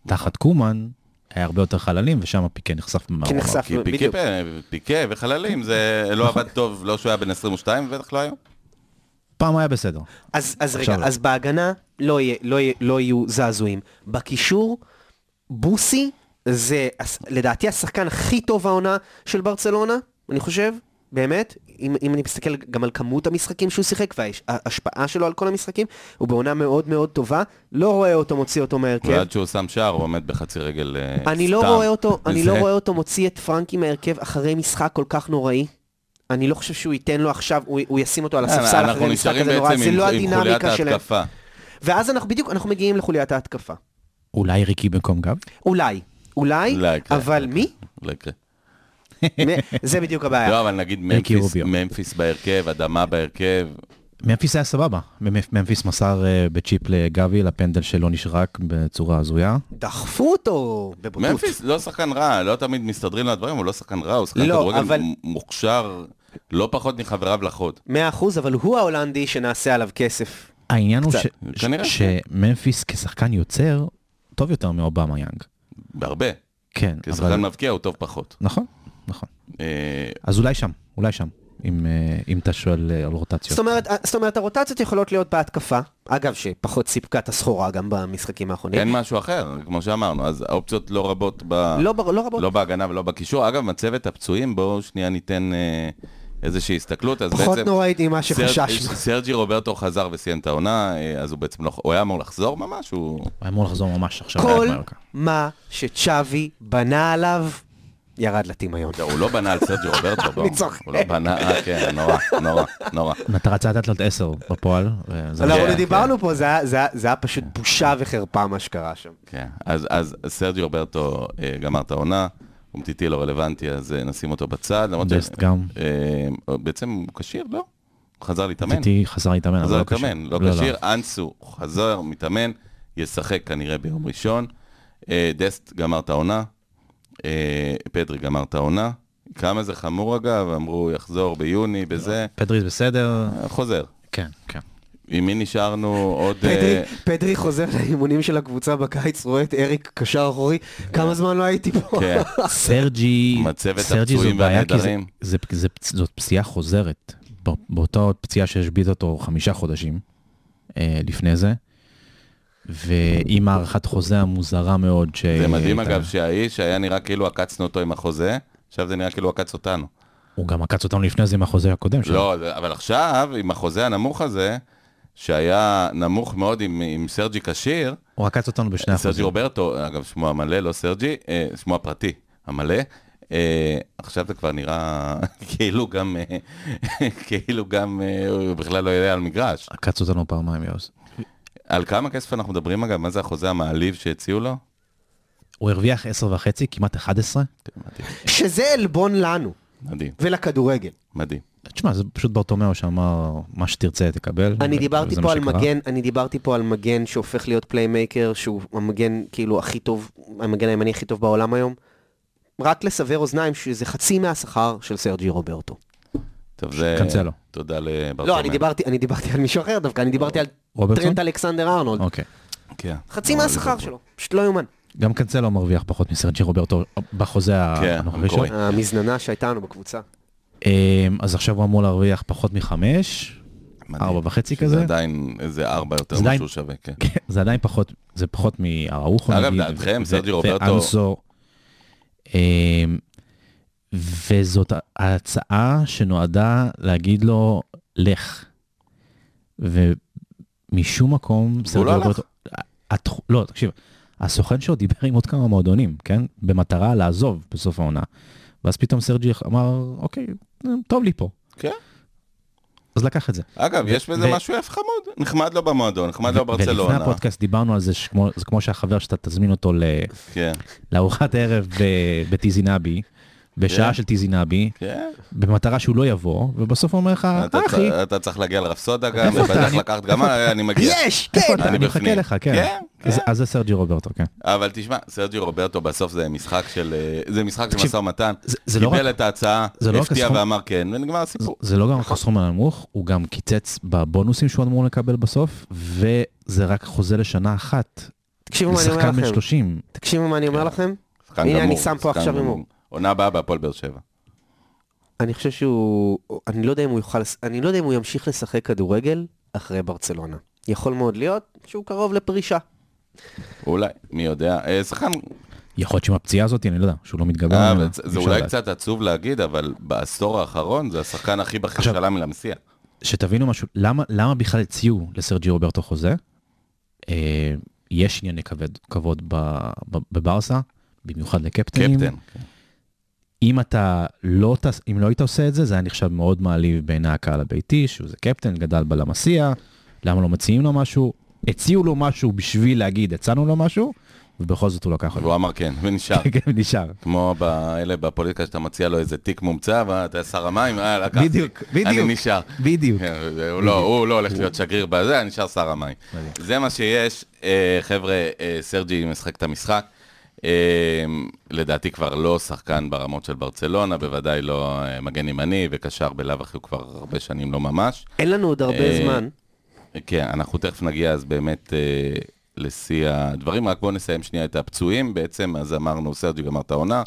תחת קומן היה הרבה יותר חללים, ושם פיקה נחשף במערב. נחשף. כי בדיוק. פיקה, פיקה וחללים, זה (laughs) לא עבד טוב, לא שהוא היה בן 22, ובטח לא היום. פעם היה בסדר. אז, אז רגע, עכשיו לא. אז בהגנה לא, יהיה, לא, יהיה, לא יהיו זעזועים. בקישור, בוסי זה הס- לדעתי השחקן הכי טוב העונה של ברצלונה, אני חושב, באמת. אם, אם אני מסתכל גם על כמות המשחקים שהוא שיחק וההשפעה שלו על כל המשחקים, הוא בעונה מאוד מאוד טובה, לא רואה אותו מוציא אותו מהרכב. ועד שהוא שם שער, הוא עומד בחצי רגל אה, סתם. כן. אני לא רואה אותו, אני לא זה- רואה אותו מוציא את פרנקי מההרכב אחרי משחק כל כך נוראי. אני לא חושב שהוא ייתן לו עכשיו, הוא, הוא ישים אותו על הספסל אה, אנחנו אחרי משחק נשארים כזה נורא, בעצם זה עם עם לא חוליית הדינמיקה שלהם. ההתקפה. ואז אנחנו בדיוק, אנחנו מגיעים לחוליית ההתקפה. אולי ריקי במקום גב? אולי, אולי, אולי, כן. אבל מי? (laughs) לא יקרה. מ- זה בדיוק הבעיה. לא, אבל נגיד ריקי ממפיס- רוביו. ממפיס בהרכב, אדמה בהרכב, ממפיס היה סבבה. ממפ- ממפיס מסר אה, בצ'יפ לגבי, לפנדל שלא נשרק בצורה הזויה. דחפו אותו בבוטות. ממפיס לא שחקן רע, לא תמיד מסתדרים לו הדברים, הוא לא שחקן רע, הוא שחקן לא, כדורגל אבל- מ- מוכשר, לא פחות מחבריו לחוד. מאה אחוז, אבל הוא ההולנדי שנעשה עליו כסף. העניין הוא ש- קצת, ש- כנראה. שממפיס כשחקן יוצר, טוב יותר מאובמה יאנג. בהרבה. כן, אבל... כשחקן מבקיע הוא טוב פחות. נכון, נכון. אה, אז אולי שם, אולי שם, אם, אה, אם אתה שואל אה, על רוטציות. זאת אומרת, זאת אומרת, הרוטציות יכולות להיות בהתקפה. אגב, שפחות סיפקה את הסחורה גם במשחקים האחרונים. אין משהו אחר, כמו שאמרנו, אז האופציות לא רבות ב... לא בר- לא רבות. לא בהגנה ולא בקישור. אגב, מצבת הפצועים, בואו שנייה ניתן אה, איזושהי הסתכלות. אז פחות בעצם- נוראית ממה סר- שחששנו. סרג'י רוברטו חזר וסיים את העונה, אה, אז הוא בעצם לא... הוא היה אמור לחזור ממש, הוא... הוא אמור לחזור ממש עכשיו. כל מהיורקה. מה שצ'אבי בנה עליו, ירד לטמיון. לא, הוא לא בנה על סרג'י רוברטו, בואו. אני צוחק. הוא לא בנה, אה, כן, נורא, נורא, נורא. אתה רצית לתת לו את 10 בפועל. אה, וזה- אנחנו כן. דיברנו פה, זה היה- זה היה- זה היה פשוט בושה וחרפה מה שקרה שם. כן, אז, אז סרג'י רוברטו אה, גמר את העונה, אומטיטי לא רלוונטי, אז אה, נשים אותו בצד. למרות ש- דסט גם. אה, בעצם הוא כשיר, לא? הוא חזר להתאמן. טיטי חזר להתאמן, אבל חזר לא קשור. להתאמן, לא כשיר. אנסו חזר, מתאמן, ישחק כנראה ביום ראשון. אה, דסט גמר את העונה, אה, פדרי גמר את העונה. כמה זה חמור אגב, אמרו יחזור ביוני, בזה. פדריס בסדר. אה, חוזר. כן, כן. עם מי נשארנו עוד... פדרי, אה, פדרי חוזר לאימונים של הקבוצה בקיץ, רואה את אריק קשר אחורי, כמה זמן לא הייתי פה. אה, כן. סרג'י, מצבת סרג'י זו הפצועים בעיה, כי זה- והנעדרים. זה- זה- זאת פציעה חוזרת. ב- באותה פציעה שהשבית אותו חמישה חודשים אה, לפני זה. ועם הארכת חוזה המוזרה מאוד ש... זה מדהים הייתה- אגב שהאיש היה נראה כאילו עקצנו אותו עם החוזה, עכשיו זה נראה כאילו עקץ אותנו. הוא גם עקץ אותנו לפני זה עם החוזה הקודם שלו. לא, זה- אבל עכשיו, עם החוזה הנמוך הזה, שהיה נמוך מאוד עם, עם סרג'י כשיר, הוא עקץ אותנו בשני סרג'י החוזים. רוברטו, אגב, שמו המלא, לא סרג'י, אה, שמו הפרטי, המלא. אה, עכשיו זה כבר נראה (laughs) כאילו גם, אה, (laughs) כאילו גם אה, הוא בכלל לא יעלה על מגרש. עקץ אותנו פעמיים, יאוס. על כמה כסף אנחנו מדברים אגב? מה זה החוזה המעליב שהציעו לו? הוא הרוויח עשר וחצי, כמעט 11. כן, מדהים, שזה עלבון לנו מדהים, ולכדורגל. מדהים. תשמע, זה פשוט ברטומיאו שאמר, מה שתרצה תקבל. אני וזה דיברתי מה פה על שקרה. מגן, אני דיברתי פה על מגן שהופך להיות פליימייקר, שהוא המגן כאילו הכי טוב, המגן הימני הכי טוב בעולם היום. רק לסבר אוזניים שזה חצי מהשכר של סרג'י רוברטו. טוב, זה... קנסלו. תודה כן, לברטומיאו. לא, אני דיברתי, אני דיברתי על מישהו אחר דווקא, אני דיברתי אה, על רוברטסון? טרנט אלכסנדר ארנולד. אוקיי. כן. חצי מהשכר שלו, פשוט לא יאומן. גם קנסלו מרוויח פחות מסרג'י רוברטו בחוזה כן, הנוכחי שלו. המקורי. המזננה שהייתה לנו בקבוצה. אמ, אז עכשיו הוא אמור להרוויח פחות מחמש, מדהים. ארבע וחצי זה כזה. עדיין איזה ארבע יותר זה ממה עדיין- שהוא שווה, כן. כן, זה עדיין פחות, זה פחות מאראוחו אגב, נגיד, דעתכם, ו- סרג'י רוברטו- ואנסו. אמ, וזאת ההצעה שנועדה להגיד לו, לך. ומשום מקום, סרג'י לא הלך. רוברטו... התח- לא, תקשיב, הסוכן שלו דיבר עם עוד כמה מועדונים, כן? במטרה לעזוב בסוף העונה. ואז פתאום סרג'י אמר, אוקיי, טוב לי פה. כן. אז לקח את זה. אגב, יש בזה ו- משהו יפה חמוד, נחמד לו במועדון, נחמד לו ולפני בברצלונה. הפודקאסט דיברנו על זה, שכמו, זה כמו שהחבר שאתה תזמין אותו ל... כן. לארוחת ערב ב- בטיזינבי, בשעה של טיזי נבי, כן. במטרה שהוא לא יבוא, ובסוף הוא אומר לך, אתה כן, צ- אה, אחי, אתה צריך להגיע לרפסודה גם, איפה אתה? ובטח אני- לקחת גם, אה, אני מגיע. יש! איפה כן! אתה? אני מחכה בפנים. לך, כן. כן, אז- אז זה סרג'י רוברטו, כן. אבל תשמע, סרג'י רוברטו בסוף זה משחק של אה, זה משחק של תקשיב, משא ומתן. זה- זה לא קיבל רק- את ההצעה, זה לא רק הפתיע הסכום. ואמר כן, ונגמר הסיפור. זה לא גם רק הסכום הנמוך, הוא גם קיצץ בבונוסים שהוא אמור לקבל בסוף, וזה רק חוזה לשנה אחת. תקשיבו מה אני אומר לשחקן בן לכם. 30. תקשיבו מה אני כן. אומר לכם. שחקן הנה, גמור, אני שם פה שחקן עכשיו גמור. הימור. עונה הבאה בהפועל באר שבע. אני חושב שהוא... אני לא יודע אם הוא יוכל... אני לא יודע אם הוא ימשיך לשחק כדורגל אחרי ברצלונה. יכול מאוד להיות שהוא קרוב לפרישה. אולי, מי יודע. אה, שחקן, יכול להיות שעם הפציעה הזאת, אני לא יודע, שהוא לא מתגבר. אה, ממנה, אבל זה- אי זה אפשר אולי לדעת. קצת עצוב להגיד, אבל בעשור האחרון זה השחקן הכי בכיר עכשיו- שעלה מלמסיע. שתבינו משהו, למה, למה בכלל הציעו לסרג'י רוברטו חוזה? אה, יש ענייני כבד, כבוד ב, ב, בברסה, במיוחד לקפטנים. קפטן. אם אתה לא, תס- אם לא היית עושה את זה, זה היה נחשב מאוד מעליב בעיני הקהל הביתי, שהוא זה קפטן, גדל בלמסיע, למה לא מציעים לו משהו? הציעו לו משהו בשביל להגיד, הצענו לו משהו, ובכל זאת הוא לקח את זה. והוא אמר כן, ונשאר. (laughs) כן, נשאר. כמו באלה בפוליטיקה שאתה מציע לו איזה תיק מומצא, ואתה שר המים, אה, לקחתי. בדיוק, בדיוק. אני נשאר. בדיוק. כן, זה- הוא לא, הוא לא הולך להיות שגריר בזה, אני נשאר שר המים. זה מה שיש, אה, חבר'ה, אה, סרג'י משחק את המשחק. אה, לדעתי כבר לא שחקן ברמות של ברצלונה, בוודאי לא אה, מגן ימני וקשר בלאו הכי הוא כבר הרבה שנים לא ממש. אין לנו עוד הרבה אה, זמן. כן, אנחנו תכף נגיע אז באמת אה, לשיא הדברים, רק בואו נסיים שנייה את הפצועים. בעצם, אז אמרנו, סרג'י גמר את העונה,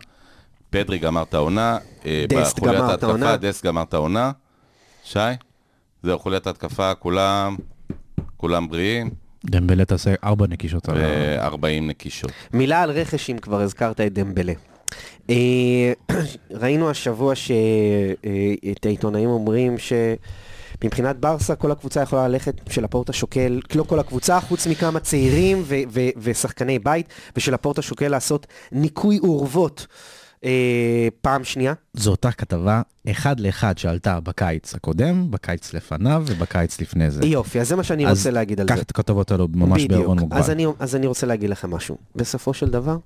פדרי גמר את העונה, אה, דסט בחוליית גמר את ההתקפה, העונה. דסט גמר את העונה. שי, זהו, חוליית ההתקפה, כולם, כולם בריאים, דמבלה תעשה ארבע נקישות על ה... ו-40 נקישות. מילה על רכש, אם כבר הזכרת את דמבלה. אה, (clears throat) ראינו השבוע ש- אה, את העיתונאים אומרים שמבחינת ברסה כל הקבוצה יכולה ללכת, שלפורטה שוקל, לא כל הקבוצה, חוץ מכמה צעירים ו- ו- ושחקני בית, ושלפורטה שוקל לעשות ניקוי אורוות אה, פעם שנייה. זו אותה כתבה אחד לאחד שעלתה בקיץ הקודם, בקיץ לפניו ובקיץ לפני זה. יופי, אז זה מה שאני אז רוצה להגיד על קח זה. את הכתבות האלו ממש בדיוק. בעירבון מוגבל. אז אני, אז אני רוצה להגיד לכם משהו. בסופו של דבר,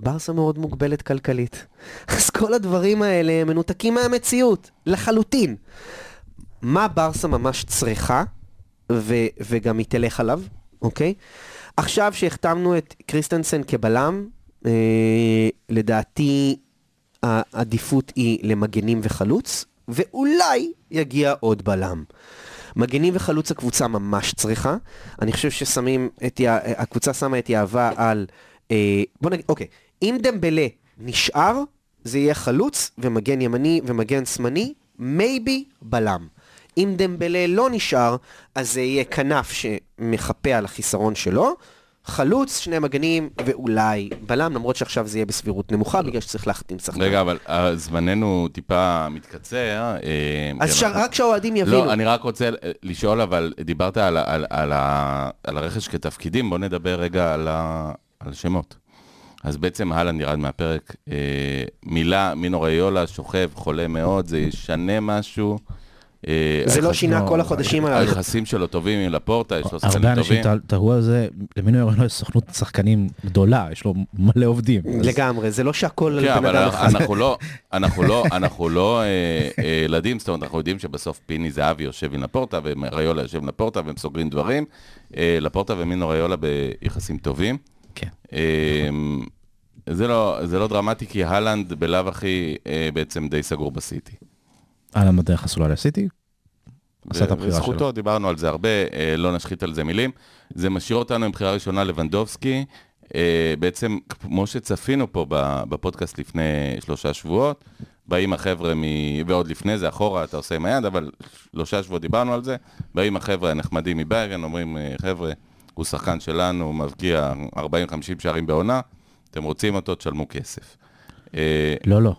ברסה מאוד מוגבלת כלכלית. (laughs) אז כל הדברים האלה הם מנותקים מהמציאות, לחלוטין. מה ברסה ממש צריכה, ו, וגם היא תלך עליו, אוקיי? עכשיו שהחתמנו את קריסטנסן כבלם, אה, לדעתי העדיפות היא למגנים וחלוץ, ואולי יגיע עוד בלם. מגנים וחלוץ הקבוצה ממש צריכה. אני חושב ששמים את... יא- הקבוצה שמה את יהבה על... אה, בוא נגיד, אוקיי. אם דמבלה נשאר, זה יהיה חלוץ ומגן ימני ומגן שמאלי, מייבי בלם. אם דמבלה לא נשאר, אז זה יהיה כנף שמחפה על החיסרון שלו. חלוץ, שני מגנים ואולי בלם, למרות שעכשיו זה יהיה בסבירות נמוכה, בגלל שצריך להחתים שחקן. רגע, אבל אה, זמננו טיפה מתקצר. אה, אז כי שר- אנחנו- רק שהאוהדים יבינו. לא, אני רק רוצה אה, לשאול, אבל דיברת על, ה- על, על, ה- על הרכש כתפקידים, בוא נדבר רגע על, ה, על שמות. אז בעצם אהלן ירד מהפרק, אה, מילה מינוריולה, שוכב, חולה מאוד, זה ישנה משהו. אה, זה לא היחס- שינה לא, כל החודשים הללו. היחסים שלו טובים עם לפורטה, יש לו הרבה שחקנים אנשים טובים. ת- תהו על זה, למינוי הרעיון יש סוכנות שחקנים גדולה, יש לו מלא עובדים. אז לגמרי, זה לא שהכל על כן, בן אבל אדם אחד. אנחנו לא, אנחנו לא, אנחנו לא אה, אה, ילדים, זאת אומרת, אנחנו יודעים שבסוף פיני זהבי יושב עם לפורטה, ומריולה יושב עם לפורטה, והם סוגרים דברים. אה, לפורטה ומינו ריולה ביחסים טובים. כן. אה, זה לא, זה לא דרמטי, כי הלנד בלאו הכי אה, בעצם די סגור בסיטי. אהלן בדרך הסולה לסיטי, עשה את הבחירה שלו. בזכותו, דיברנו על זה הרבה, אה, לא נשחית על זה מילים. זה משאיר אותנו עם בחירה ראשונה לבנדובסקי. אה, בעצם, כמו שצפינו פה ב- בפודקאסט לפני שלושה שבועות, באים החבר'ה מ... ועוד לפני זה, אחורה, אתה עושה עם היד, אבל שלושה שבועות דיברנו על זה, באים החבר'ה הנחמדים מביירן, אומרים, אה, חבר'ה, הוא שחקן שלנו, הוא מבקיע 40-50 שערים בעונה, אתם רוצים אותו, תשלמו כסף. אה, לא, לא.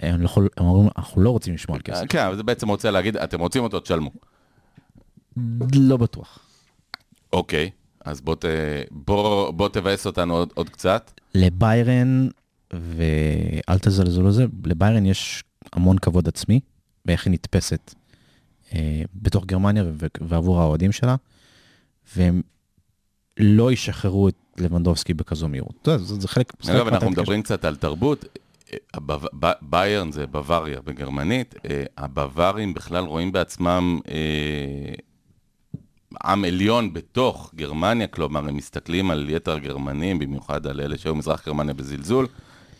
הם לא יכול- הם אומרים, אנחנו לא רוצים לשמוע על כסף. כן, אבל זה בעצם רוצה להגיד, אתם רוצים אותו, תשלמו. אה, לא בטוח. אוקיי, אז בוא, ת... בוא, בוא תבאס אותנו עוד, עוד קצת. לביירן, ואל תזלזלו לזה, לביירן יש המון כבוד עצמי, ואיך היא נתפסת אה, בתוך גרמניה ו- ועבור האוהדים שלה, והם לא ישחררו את לבנדובסקי בכזו מהירות. אתה יודע, זה, זה חלק... זה חלק אגב, אנחנו מהטקטיקה מדברים קצת על תרבות. הבב- ב- ביירן זה בוואריה בגרמנית, אה, הבווארים בכלל רואים בעצמם אה, עם עליון בתוך גרמניה, כלומר, הם מסתכלים על יתר הגרמנים, במיוחד על אלה שהיו מזרח גרמניה בזלזול,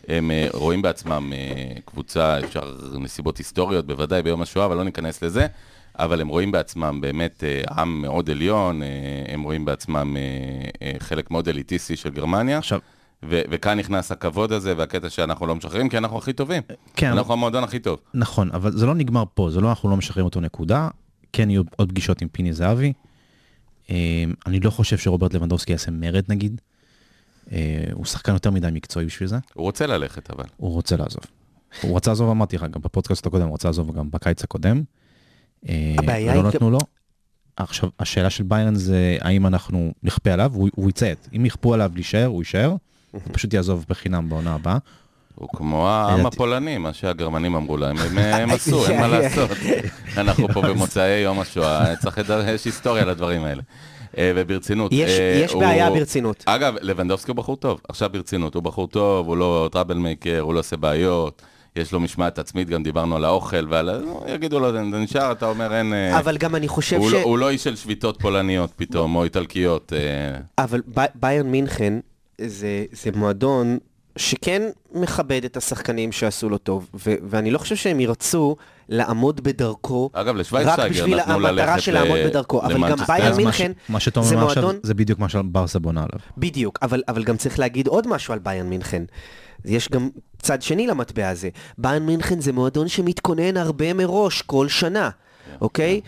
הם אה, רואים בעצמם אה, קבוצה, אפשר נסיבות היסטוריות, בוודאי ביום השואה, אבל לא ניכנס לזה, אבל הם רואים בעצמם באמת אה, עם מאוד עליון, אה, הם רואים בעצמם אה, אה, חלק מאוד אליטיסטי של גרמניה. עכשיו- ו- וכאן נכנס הכבוד הזה והקטע שאנחנו לא משחררים, כי אנחנו הכי טובים. כן, אבל- אנחנו המועדון הכי טוב. נכון, אבל זה לא נגמר פה, זה לא אנחנו לא משחררים אותו נקודה. כן יהיו עוד פגישות עם פיני זהבי. אה, אני לא חושב שרוברט לבנדובסקי יעשה מרד נגיד. אה, הוא שחקן יותר מדי מקצועי בשביל זה. הוא רוצה ללכת, אבל. הוא רוצה לעזוב. הוא רצה לעזוב, אמרתי לך, גם בפודקאסט הקודם, הוא רצה לעזוב גם בקיץ הקודם. אה, הבעיה ולא היא נתנו לו. עכשיו, השאלה של ביירן זה האם אנחנו נכפה עליו, הוא, הוא יציית. אם יכפו עליו להישאר, הוא יישאר, הוא פשוט יעזוב בחינם בעונה הבאה. הוא כמו העם לדעתי. הפולני, מה שהגרמנים אמרו להם, (laughs) הם- הם עשו, אין מה לעשות. אנחנו פה במוצאי יום השואה, צריך לדעת, יש היסטוריה לדברים האלה. אה, וברצינות. יש- אה, יש בעיה הוא- ברצינות. אגב, לבנדובסקי הוא בחור טוב, עכשיו ברצינות, הוא בחור טוב, הוא לא טראבל מייקר, הוא לא עושה בעיות, יש לו משמעת עצמית, גם דיברנו על האוכל ועל... ה- יגידו לו, זה נשאר, אתה אומר, אין... אה, אבל גם אני חושב הוא ש... לא- הוא לא איש של שביתות פולניות פתאום, או איטלקיות. אה, אבל ב- ביירן מינכן זה, זה מועדון שכן מכבד את השחקנים שעשו לו טוב, ו- ואני לא חושב שהם ירצו לעמוד בדרכו. אגב, רק לשווייצשטייגר בשביל נתנו המטרה ללכת אה, של לעמוד ל- בדרכו, אבל גם למנצ'סטר. ביירן אז מה ש- מינכן מה שאתה זה אומר עכשיו, מועדון, זה בדיוק מה שברסה בונה עליו. בדיוק, אבל, אבל גם צריך להגיד עוד משהו על ביירן מינכן. יש גם צד שני למטבע הזה. ביירן מינכן זה מועדון שמתכונן הרבה מראש כל שנה, כן, אוקיי?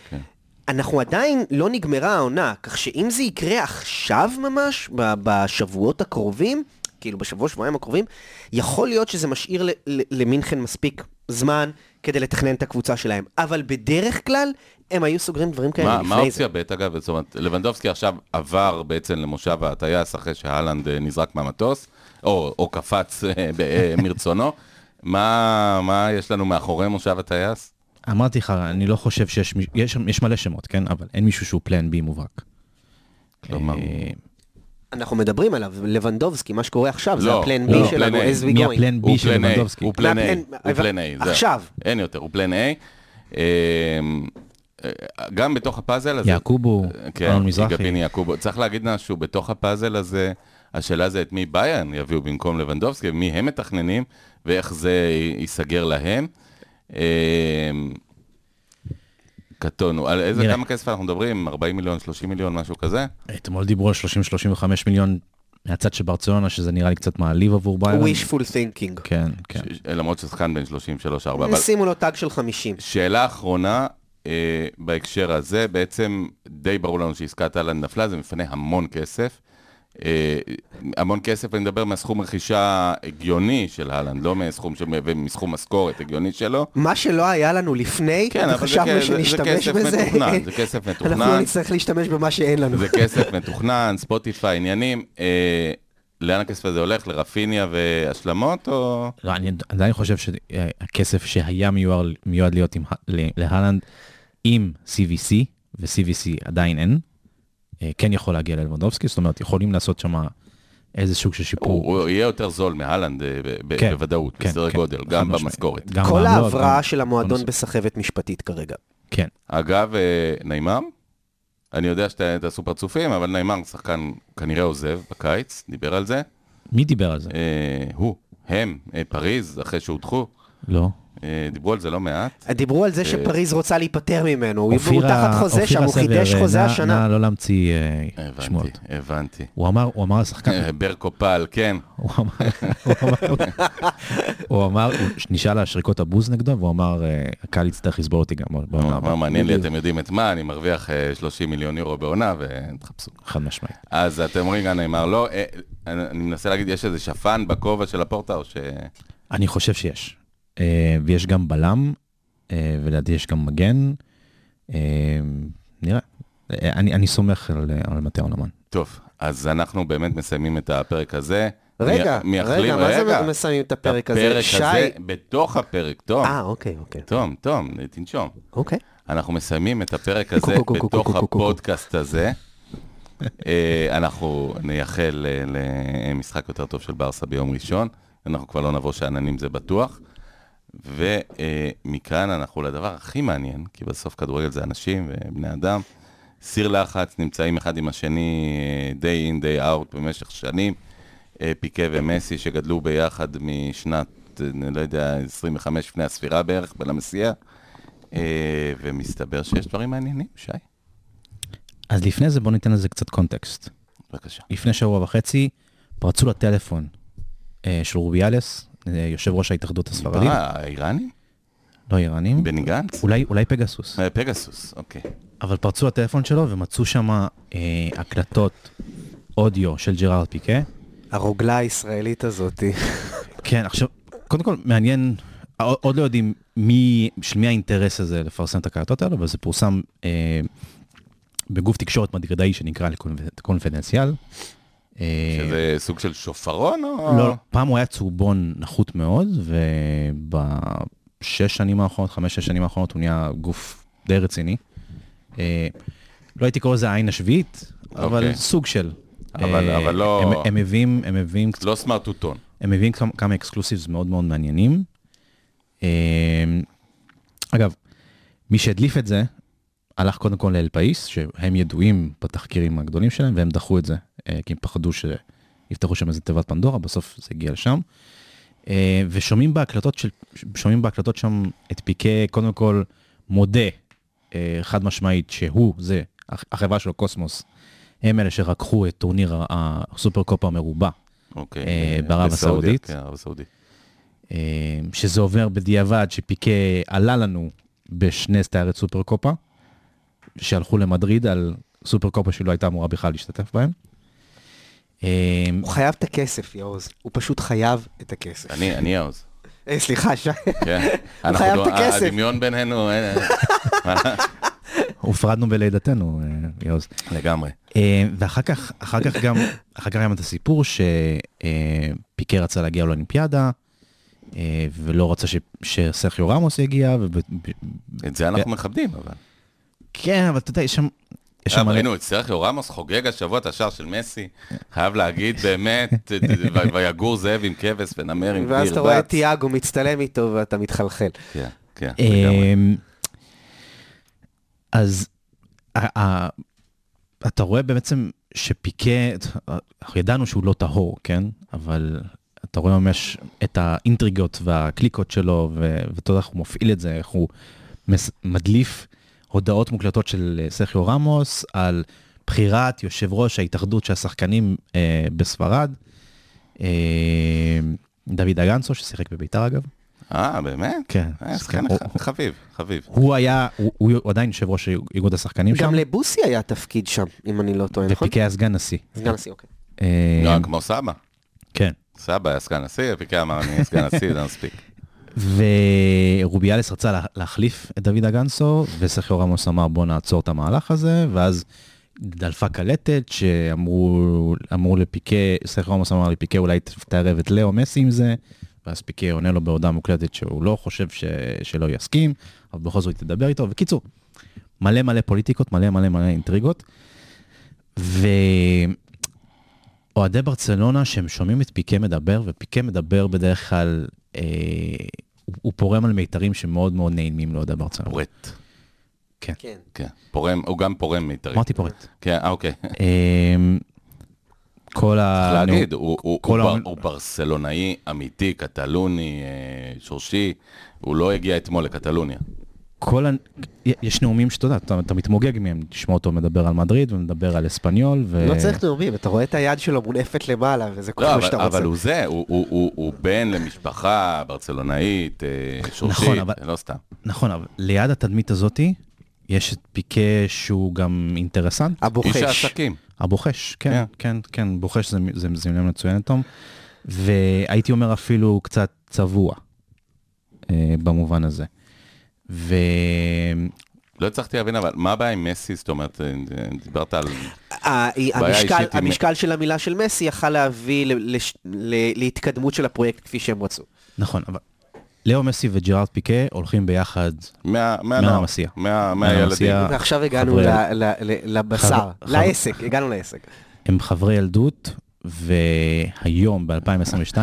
אנחנו עדיין לא נגמרה העונה, כך שאם זה יקרה עכשיו ממש, ב- בשבועות הקרובים, כאילו בשבוע שבועיים הקרובים, יכול להיות שזה משאיר ל- ל- למינכן מספיק זמן כדי לתכנן את הקבוצה שלהם. אבל בדרך כלל, הם היו סוגרים דברים כאלה מה, כן, לפני מה זה. האופציה ב' אגב? זאת אומרת, לבנדובסקי עכשיו עבר בעצם למושב הטייס אחרי שההלנד אה, נזרק מהמטוס, או, או קפץ אה, ב- אה, מרצונו. מה, מה יש לנו מאחורי מושב הטייס? אמרתי לך, אני לא חושב שיש, מיש- יש, יש מלא שמות, כן? אבל אין מישהו שהוא פלן בי מובהק. כלומר, אה, אנחנו מדברים עליו, לבנדובסקי, מה שקורה עכשיו, זה לא, הפלן לא, B הוא שלנו, plan A. as we מי going. הפלן הוא בי של פלן A, לבנדובסקי? הוא פלן A, מהפלן- הוא פלן A, זהו. אה, עכשיו. אין יותר, הוא פלן A. אה, אה, גם בתוך הפאזל הזה... יעקובו, כן, אלון מזרחי. פיני יעקובו. צריך להגיד משהו, בתוך הפאזל הזה, השאלה זה את מי ביירן יביאו במקום לבנדובסקי, מי הם מתכננים, ואיך זה י- ייסגר להם. אה, קטונו. על איזה, נראה. כמה כסף אנחנו מדברים? 40 מיליון, 30 מיליון, משהו כזה? אתמול דיברו על 30-35 מיליון מהצד של ברצלונה, שזה נראה לי קצת מעליב עבור ביירן. wishful thinking. כן, כן. ש- למרות ששחקן בן 33-4, אבל... שימו לו טאג של 50. שאלה אחרונה, אה, בהקשר הזה, בעצם די ברור לנו שעסקת אהלן נפלה, זה מפנה המון כסף. אה, המון כסף, אני מדבר מהסכום רכישה הגיוני של אהלן, לא מסכום, של, מסכום משכורת הגיוני שלו. מה שלא היה לנו לפני, כן, אבל זה חשבנו כ- זה- זה כסף שנשתמש בזה. מתוכנן, (laughs) זה כסף אנחנו לא מתוכנן. נצטרך להשתמש במה שאין לנו. זה כסף (laughs) מתוכנן, ספוטיפיי, עניינים. אה, לאן הכסף הזה הולך? לרפיניה והשלמות, או... לא, אני עדיין חושב שהכסף שהיה מיועד, מיועד להיות עם, ה- ל- להלנד עם CVC, ו-CVC עדיין אין, אה, כן יכול להגיע ללבנדובסקי, זאת אומרת, יכולים לעשות שם איזה סוג של הוא, שיפור. הוא יהיה יותר זול מהלנד אה, ב- ב- כן, בוודאות, כן, בסדר כן, גודל, חד גם משמעית. במשכורת. גם כל בעמלות, ההבראה גם- של המועדון גם- בסחבת משפטית כרגע. כן. אגב, אה, נעימר, אני יודע שאתה תעשו פרצופים, אבל נעימר שחקן כנראה עוזב בקיץ, דיבר על זה. מי דיבר על זה? אה, הוא, הם, אה, פריז, אחרי שהודחו, לא. אה, דיברו על זה לא מעט. דיברו על זה שפריז רוצה להיפטר ממנו, הוא הוא אופירה- תחת חוזה אופירה שם, הוא חידש סבר, חוזה נא- השנה. נא לא להמציא אה, הבנתי, שמועות. הבנתי. הוא אמר, הוא אמר לשחקן, אה, ברקו פל, כן. הוא אמר, הוא אמר, הוא אמר, הוא נשאל על שריקות הבוז נגדו, והוא אמר, אה, הקהל יצטרך לסבול אותי גם בעונה מה הבאה. מעניין לי, בדיוק. אתם יודעים את מה, אני מרוויח אה, 30 מיליון יורו בעונה, ותחפשו. חד משמעית. אז אתם אומרים, גם נאמר, לא, אה, אני אני מנסה להגיד, יש איזה שפן בכובע של הפורטה, או ש... אני חושב שיש. אה, ויש גם בלם, אה, ולדעתי יש גם מגן. אה, נראה. אה, אני אני סומך על אה, על מטה אונמן. טוב, אז אנחנו באמת מסיימים את הפרק הזה. רגע, מי- מי רגע, יחליף- מה רגע. זה מסיימים את הפרק הזה? הפרק שי... הזה, בתוך הפרק, תום, אה, אוקיי, אוקיי. תום, תום, תנשום. אוקיי. אנחנו מסיימים את הפרק הזה קו, קו, קו, בתוך קו, קו, קו, קו. הפודקאסט הזה. אה, אנחנו נייחל אה, למשחק יותר טוב של ברסה ביום ראשון, אנחנו כבר לא נבוא שאננים, זה בטוח. ומכאן אנחנו לדבר הכי מעניין, כי בסוף כדורגל זה אנשים ובני אדם. סיר לחץ, נמצאים אחד עם השני אה, day in, day out במשך שנים. אה, פיקה ומסי שגדלו ביחד משנת, אה, אני לא יודע, 25 לפני הספירה בערך, בלמסיע. אה, ומסתבר שיש דברים מעניינים, שי. אז לפני זה בוא ניתן לזה קצת קונטקסט. בבקשה. לפני שבוע וחצי פרצו לטלפון אה, של רוביאלס, אה, יושב ראש ההתאחדות הספרדית, אה, האיראנים? לא איראנים, בני גנץ? אולי, אולי פגסוס. אה, פגסוס, אוקיי. אבל פרצו לטלפון שלו ומצאו שם אה, הקלטות אודיו של ג'רארד פיקה. הרוגלה הישראלית הזאתי. כן, עכשיו, קודם כל מעניין, עוד עוד לא יודעים מי, של מי האינטרס הזה לפרסם את הקלטות האלו, אבל זה פורסם אה, בגוף תקשורת מדרידאי שנקרא לקונפדנציאל. אה, שזה סוג של שופרון או... לא, פעם הוא היה צהובון נחות מאוד, ובשש שנים האחרונות, חמש-שש שנים האחרונות, הוא נהיה גוף די רציני. אה, לא הייתי קורא לזה העין השביעית, אבל אוקיי. סוג של. אבל- אה, אבל לא- הם- הם מביאים, הם מביאים לא סמארטוטון. הם מביאים כמה, כמה אקסקלוסיבס מאוד מאוד מעניינים. אמ, אגב, מי שהדליף את זה, הלך קודם כל לאל פאיס, שהם ידועים בתחקירים הגדולים שלהם, והם דחו את זה, אה, כי הם פחדו שיפתחו שם איזה תיבת פנדורה, בסוף זה הגיע לשם. אה, ושומעים בהקלטות, של, שומעים בהקלטות שם את פיקה, קודם כל מודה אה, חד משמעית שהוא, זה, הח- החברה שלו, קוסמוס, הם אלה שרקחו את טורניר ה- הסופר קופה המרובע אוקיי. אה, אה, בערב בסעודיה, הסעודית. כן, ערב הסעודית. אה, שזה עובר בדיעבד, שפיקה עלה לנו בשני סטיירת סופרקופה, שהלכו למדריד על סופרקופה שלא הייתה אמורה בכלל להשתתף בהם. אה, הוא חייב את הכסף, יעוז. הוא פשוט חייב את הכסף. אני, אני העוז. אה, סליחה, שי. (laughs) כן. אנחנו חייב לא- את הכסף. הדמיון בינינו, אה, הופרדנו בלידתנו, אה, יוז. לגמרי. אה, ואחר כך, אחר כך גם, אחר כך גם את הסיפור שפיקר רצה להגיע לאולימפיאדה, אה, ולא רצה ש- שסרחיו רמוס יגיע, וב- את זה אנחנו מכבדים, אבל. כן, אבל אתה יודע, יש שם... יש אה, שם מלא- כן. ראינו את סרחיו רמוס חוגג השבוע את השער של מסי. חייב להגיד, (laughs) באמת, ו- ויגור זאב עם כבש ונמר עם ואז אתה דביר רואה את בץ. תיאגו מצטלם איתו ואתה מתחלחל. כן, כן, לגמרי. אמ, אז ה- ה- אתה רואה בעצם שפיקה, אנחנו ידענו שהוא לא טהור, כן? אבל אתה רואה ממש את האינטריגות והקליקות שלו, ו- ואתה יודע איך הוא מפעיל את זה, איך הוא מס- מדליף הודעות מוקלטות של אה, סרחיו רמוס על בחירת יושב ראש ההתאחדות של השחקנים אה, בספרד, אה, דוד אגנסו, ששיחק בביתר אגב. אה, באמת? כן. אה, שחקן הוא- ח- חביב, חביב. הוא היה, הוא, הוא עדיין יושב ראש איגוד השחקנים שם, גם לבוסי היה תפקיד שם, אם אני לא טועה, נכון? ופיקי היה סגן נשיא. סגן נשיא, אוקיי. אה, לא, כמו סבא. כן. סבא היה סגן נשיא, פיקי אמר, אני סגן נשיא, זה מספיק. ורוביאלס רצה לה, להחליף את דוד אגנסו, וסרחיו רמוס אמר בוא נעצור את המהלך הזה, ואז דלפה קלטת שאמרו אמרו לפיקה, סרחיו רמוס אמר לפיקה אולי ת- תערב את לאו מסי עם זה, ואז פיקה עונה לו בהודעה מוקלטת שהוא לא חושב ש, שלא יסכים, אבל בכל זאת תדבר איתו, וקיצור, מלא מלא פוליטיקות, מלא מלא מלא אינטריגות. ואוהדי ברצלונה שהם שומעים את פיקה מדבר, ופיקה מדבר בדרך כלל, אה, הוא, הוא פורם על מיתרים שמאוד מאוד נעימים לאוהדי ברצלונה. פורט. כן. כן. כן, פורם, הוא גם פורם מיתרים. אמרתי פורט. כן, אה, אוקיי. אה, כל ה... צריך להגיד, נו, הוא- הוא- כל הוא בר- העולם- הוא ברסלונאי אמיתי, קטלוני, אה, שורשי, הוא לא הגיע אתמול לקטלוניה. כל ה... יש נאומים שאתה יודע, אתה, אתה מתמוגג מהם, תשמע אותו מדבר על מדריד ומדבר על אספניול, ו... לא צריך נאומים, אתה רואה את היד שלו מונפת למעלה, וזה כל לא, מה אבל- שאתה רוצה. אבל הוא זה, הוא- הוא- הוא הוא בן למשפחה ברצלונאית, אה, נכון, שורשית, אבל- לא סתם. נכון, אבל ליד התדמית הזאתי, יש את פיקה שהוא גם אינטרסנט. הבוחש. איש העסקים. הבוחש, כן, כן. כן, כן, בוחש זה זה- זה מילה מצוינת, תום. והייתי אומר אפילו קצת צבוע, אה, במובן הזה. ו... לא הצלחתי להבין, אבל מה הבעיה עם מסי? זאת אומרת, אה, אה, דיברת על... ה- המשקל, אישית עם- המשקל של המילה של מסי יכל להביא ל- לש- ל- להתקדמות של הפרויקט כפי שהם רצו. נכון, אבל לאו מסי וג'רארד פיקה הולכים ביחד. מה- מהנוער, מהמסיע. מה- מהמסיע. מהילדים. ועכשיו הגענו חבר'ה- ל- ל- ל- לבשר, חבר- לעסק, הגענו לעסק. הם חברי ילדות, והיום, ב-2022,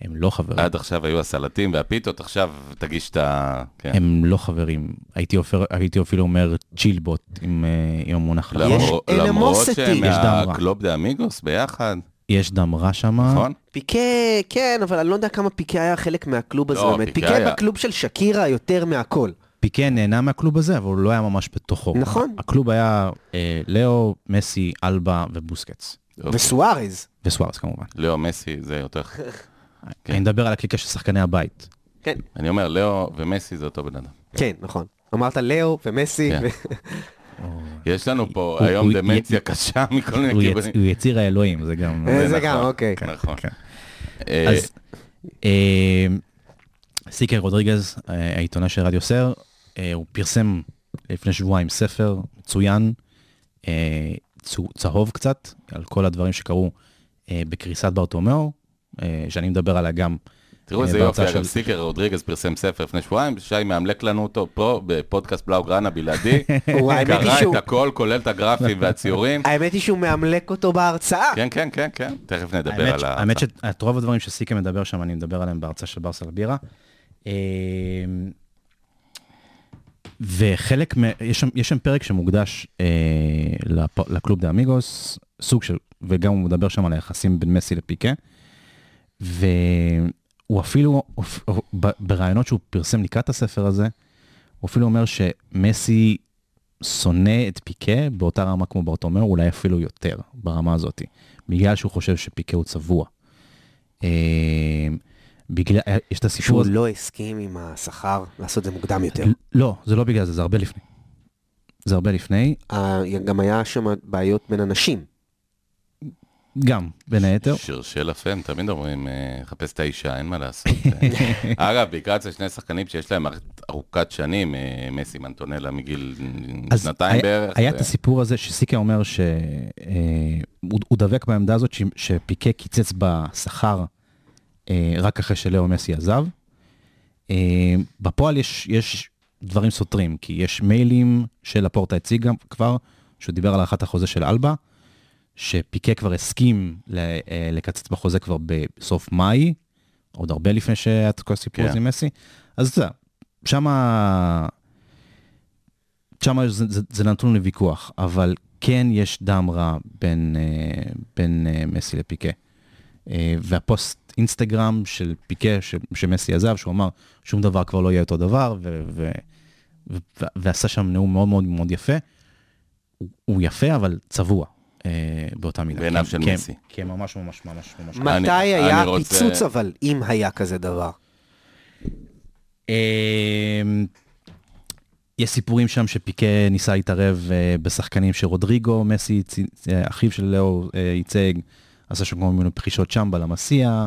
הם לא חברים. עד עכשיו היו הסלטים והפיתות, עכשיו תגיש את ה... כן. הם לא חברים. הייתי, אופר, הייתי אפילו אומר צ'ילבוט עם, אה, עם המונח. למרות- יש, למרות אנמוסיטי. שהם יש דם רע. אה? מהקלוב דה אמיגוס ביחד, יש דם רע שם. נכון? פיקה, כן, אבל אני לא יודע כמה פיקה היה חלק מהקלוב הזה לא, באמת. פיקה פיקה היה- בקלוב של שקירה יותר מהכל. פיקה נהנה מהקלוב הזה, אבל הוא לא היה ממש בתוכו. נכון. הקלוב היה אה, לאו, מסי, אלבה ובוסקץ. אוקיי. וסוארז. וסוארס כמובן. לאו מסי זה יותר... כן. אני מדבר על הקליקה של שחקני הבית. כן. אני אומר, לאו ומסי זה אותו בן אדם. כן, נכון. אמרת לאו ומסי. כן. ו- יש לנו פה הוא- היום הוא- דמנציה י- קשה מכל מיני הוא יצ- כיוונים. הוא יציר האלוהים, זה גם... אה, זה נכון, גם, אוקיי. נכון. כן. אה, אז אה, סיקר רודריגז, אה, העיתונאי של רדיו סר, אה, הוא פרסם לפני שבועיים ספר מצוין, אה, צו- צהוב קצת, על כל הדברים שקרו אה, בקריסת ברטומיאו, אה, שאני מדבר עליה גם. תראו אה, איזה בהרצאה יופי, אגב, של- סיקר רודריגז פרסם ספר לפני שבועיים, שי מאמלק לנו אותו פה בפודקאסט בלאוגרנה (laughs) בלעדי. וואי, האמת היא קרא שהוא- את הכל, כולל את הגרפים אה, והציורים. (laughs) האמת היא שהוא מאמלק אותו בהרצאה. כן, כן, כן, כן, תכף נדבר האמת על ש- ה... האמת שאת רוב הדברים שסיקה מדבר שם, אני מדבר עליהם בהרצאה של ברסה לבירה. אה, וחלק, מ- יש שם- יש שם פרק שמוקדש אה, לפ- לקלוב דה אמיגוס, סוג של, וגם הוא מדבר שם על היחסים בין מסי לפיקה. והוא אפילו, ב- ברעיונות שהוא פרסם לקראת הספר הזה, הוא אפילו אומר שמסי שונא את פיקה באותה רמה כמו ברטומיאו, אולי אפילו יותר ברמה הזאת, בגלל שהוא חושב שפיקה הוא צבוע. אה, בגלל, אה, יש את הסיפור שהוא הזה, לא הסכים עם השכר לעשות את זה מוקדם יותר. לא, זה לא בגלל זה, זה הרבה לפני. זה הרבה לפני, אה, גם היה שם בעיות בין אנשים. גם, בין היתר. שרשל אפם, תמיד אומרים, אה, חפש את האישה, אין מה לעשות. (laughs) אה. אגב, בעיקר אצל שני שחקנים שיש להם מערכת ארוכת שנים, אה, מסי מנטונלה מגיל אז שנתיים היה- בערך. אה, היה זה- את הסיפור הזה שסיקה אומר שהוא הוא דבק בעמדה הזאת ש- שפיקה קיצץ בשכר אה, רק אחרי שלאו מסי עזב. אה, בפועל יש, יש דברים סותרים, כי יש מיילים שלפורטה הציג גם כבר, שהוא דיבר על הארכת החוזה של אלבה, שפיקה כבר הסכים ל, אה, לקצץ בחוזה כבר בסוף מאי, עוד הרבה לפני שהיה את כל הסיפור הזה כן. עם מסי. אז אתה יודע, שמה... שם זה, זה, זה נתון לוויכוח, אבל כן יש דם רע בין, אה, בין אה, מסי לפיקה. אה, והפוסט אינסטגרם של פיקה, ש, שמסי עזב, שהוא אמר, שום דבר כבר לא יהיה אותו דבר, ו, ו, ו, ו, ועשה שם נאום מאוד מאוד מאוד יפה. הוא, הוא יפה, אבל צבוע אה, באותה מידה. בעיניו כי- של כי- מסי. כי ממש ממש ממש ממש. מתי אני היה רוצה- פיצוץ אבל, אם היה כזה דבר? אמ, יש סיפורים שם שפיקה ניסה להתערב אה, בשחקנים שרודריגו, מסי, צי- אה, אחיו של לאו, אה, ייצג, עשה שם כל מיני פחישות שם בלמסיע.